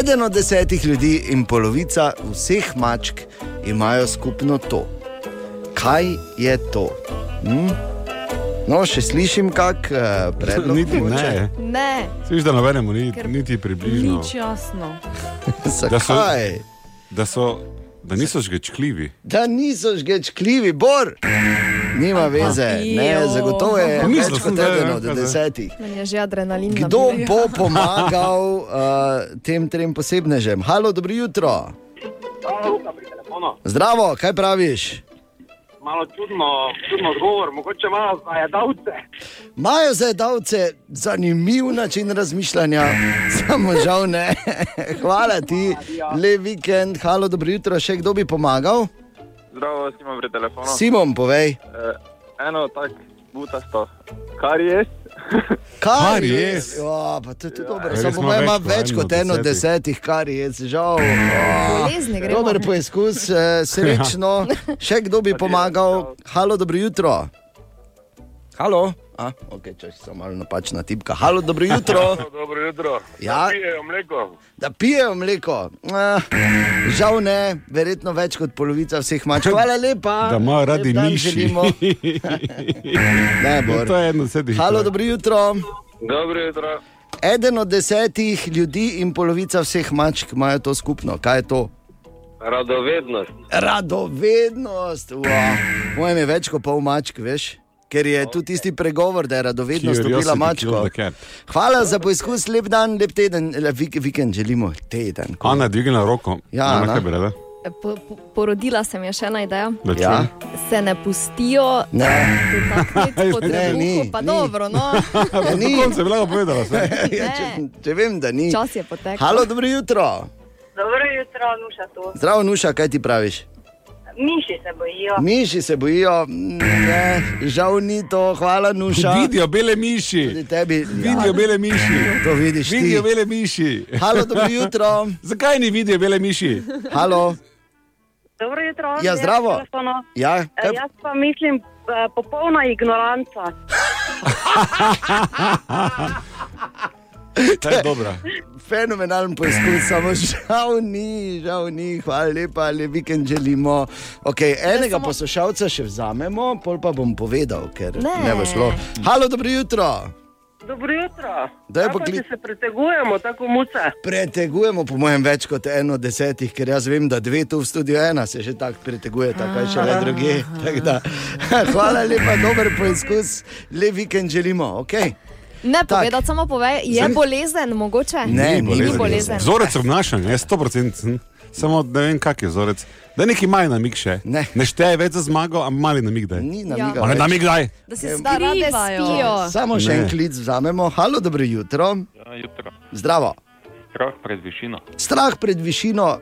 H: Eden od desetih ljudi in polovica vseh mačk imajo skupno to. Kaj je to? Hm? No, še slišim, kako uh, predlog
E: Niti ne.
H: mogoče?
D: Ne,
E: Sliš, da nobenemu ni
D: Ker-
E: niti približno.
D: Nič jasno.
E: Da so,
H: Zakaj?
E: da so, da niso žgečkljivi.
H: Da niso žgečkljivi, bor. Nima veze, ne,
D: Jo.
H: zagotovo je
E: Pa
H: več
E: mislim,
H: kot
E: da je,
H: eden
E: ne,
H: od
E: kaj zdaj.
H: desetih.
D: Meni je že adrenalin.
H: Kdo bo pomagal uh, tem trem posebnežem? Halo, dobro jutro.
T: telefono.
H: Zdravo, kaj praviš?
T: Malo čudno, čudno odgovor, mogoče malo za jedavce.
H: Imajo zajedavce zanimiv način razmišljanja, samo žal ne. Hvala ti, lep vikend, halo, dobro jutro. Še kdo bi pomagal?
T: Zdravo, Simon pri telefonu.
H: Simon, povej.
T: no. Eh, eno tak butasto, kar je.
H: Kar je?
T: Karies?
H: Ja, pa to je tudi dobro.
T: Res
H: Samo po
T: ima
H: mojem ima
T: več
H: več kot
T: kot eno
H: eno
T: od desetih.
H: desetih, kar je, žal.
T: Bolezni gremo.
H: Dober poizkus, eh, srečno. Še kdo bi pomagal? Halo, dobro jutro. Halo? A, ok, če si samo malo napačna tipka. Halo, dobro jutro.
T: Dobro jutro.
H: Ja.
T: Pijejo mleko.
H: Da pijejo mleko. Eh, žal ne, verjetno več kot polovica vseh mačk. Hvala lepa.
E: Da imajo radi
H: Lep dan
E: miši.
H: želimo. ne, Bor.
E: To je eno od desetih.
H: Halo, dobro jutro.
T: Dobro jutro.
H: Eden od desetih ljudi in polovica vseh mačk imajo to skupno. Kaj je to?
T: Radovednost.
H: Radovednost. Wow. Mojem je več kot pol mačk, veš. Ker je okay. tu tisti pregovor, da je radovednost dobila mačko. Hvala za poizkus, lep dan, lep teden, lep vik- vikend želimo, teden.
E: Ana je dvignila roko.
H: Ja, Ana.
E: Ana, kaj bi rada?
D: E, Po, po, porodila sem je še ena ideja.
E: Da čujem. Ja.
D: Se ne pustijo.
H: Ne.
D: Ne, ni, pa dobro, no.
H: Ja, Ni.
E: Na koncu je bila povedala.
H: ja, če, če vem, da ni.
D: Čas je potekel.
H: Halo, dobro jutro.
U: Dobro jutro, Nuša tu.
H: Zdravo, Nuša, kaj ti praviš?
U: Miši se bojijo.
H: Miši se bojijo, Mm, ne, žal ni to, hvala, Nuša.
E: Vidijo bele miši.
H: Tudi tebi. ja.
E: Vidijo bele miši.
H: To vidiš ti.
E: Vidijo bele miši.
H: Halo, dobro jutro.
E: Zakaj ni vidijo bele miši?
H: Halo.
U: Dobro jutro.
H: Ja, zdravo. Ja, kaj-
U: kaj... Jaz pa mislim,
M: E,
U: eh, popolna ignoranca.
E: To je dobro.
H: Fenomenalen poizkus, samo žal ni, žal ni, hvala lepa, le vikend želimo. Okay, enega samo... poslušalca še vzamemo, pol pa bom povedal, ker ne,
U: Ne.
H: ne bo šlo. Halo, dobro jutro.
U: Dobro jutro.
H: Daj
U: Kaj pa,
H: poklic-
U: če se pretegujemo, tako muca.
H: Pretegujemo, po mojem, več kot eno od desetih, ker jaz vem, da dve tu v studiu ena se že tako preteguje, tako je še le druge. Tako da, Hvala lepa, dober poizkus, le vikend želimo. Okay.
D: Ne povedati, samo povej, je
E: Zdaj-
D: bolezen mogoče? ni bolezen.
E: Vzorec obnašanja je 100%. Samo ne vem, kak je vzorec. Da neki maj namig še. Ne, ne šteje več za zmago, ampak mali namig daj.
H: Ni
D: namiga
E: Ne,
H: več.
E: namig daj.
D: Da se starate, spijo.
H: Samo še
E: Ne.
H: en klic vzamemo. Halo, dobro jutro.
V: Ja, jutro.
H: Zdravo.
V: Strah pred višino.
H: Strah pred višino,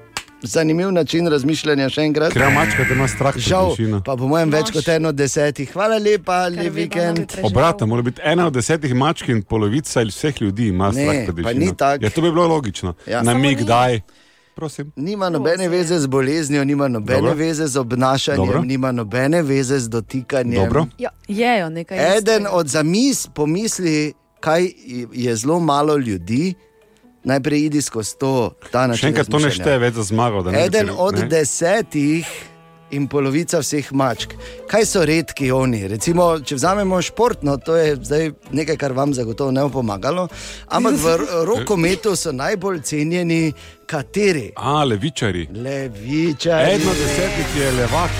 H: zanimiv način razmišljanja še enkrat.
E: Ker je mačka, da ima strah. pred
H: Žal,
E: višino.
H: pa po mojem več kot eno desetih. Hvala lepa, lep vikend.
E: Obratno, mora biti ena od desetih mačk in polovica ali vseh ljudi ima
H: Ne,
E: strah pred
H: pa
E: višino.
H: ni tako.
E: Ja, to bi bilo logično. Ja. Na mig daj. Prosim.
H: Nima nobene veze z boleznijo, nima nobene
E: Dobro.
H: Dobro. veze z obnašanjem,
E: Dobro.
H: Dobro. nima nobene veze z dotikanjem.
E: Dobro.
L: Ja, jejo nekaj.
H: Eden od zamisli, pomisli, kaj je zelo malo ljudi, najprej idi skozi to. ta način
E: Še enkrat to ne
H: razmišljanja.
E: šteje več za zmago. da ne bi
H: Eden
E: se-
H: od
E: ne.
H: desetih in polovica vseh mačk. Kaj so redki oni? Recimo, če vzamemo športno, to je zdaj nekaj, kar vam zagotovo ne bo pomagalo, ampak v ro- rokometu so najbolj cenjeni kateri.
E: A, levičari.
H: Levičari.
E: Eden od desetih je levak.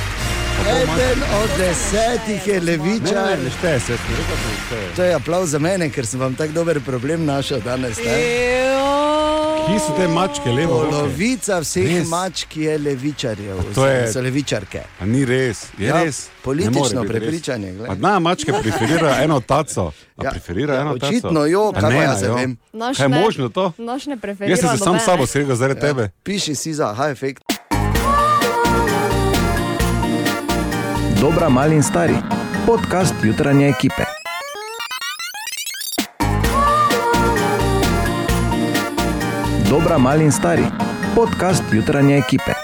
H: Eden od desetih je
E: Ne, ne,
H: levičar.
E: ne, ne šteje se, sem rekel, da ne šteje.
H: To je aplauz za mene, ker sem vam tako dober problem našel danes. Ne?
E: E, Kje so te mačke, levo?
H: Polovica vseh
E: Res?
H: Res. mačk je levičarjev,
E: To je-
H: so levičarke.
E: A ni res, je
H: Ja,
E: res.
H: politično
E: Ne more biti res.
H: prepričanje, glej.
E: Pa Dna mačke preferira eno taco. A
H: Ja,
E: preferira
H: ja,
E: eno taco.
H: očitno jo,
E: A
H: kako
E: ne,
H: jaz
E: a
H: se
E: jo.
H: vem.
D: Naš
E: Kaj je
D: ne.
E: možno to?
D: Noč ne preferira.
E: Jaz sem se sam
D: nobene.
E: s sabo sregal zaradi tebe.
H: Piši si za high effect.
A: Dobra, mali in stari. Podcast jutranje ekipe. Dobra, mali in stari. Podcast jutranje ekipe.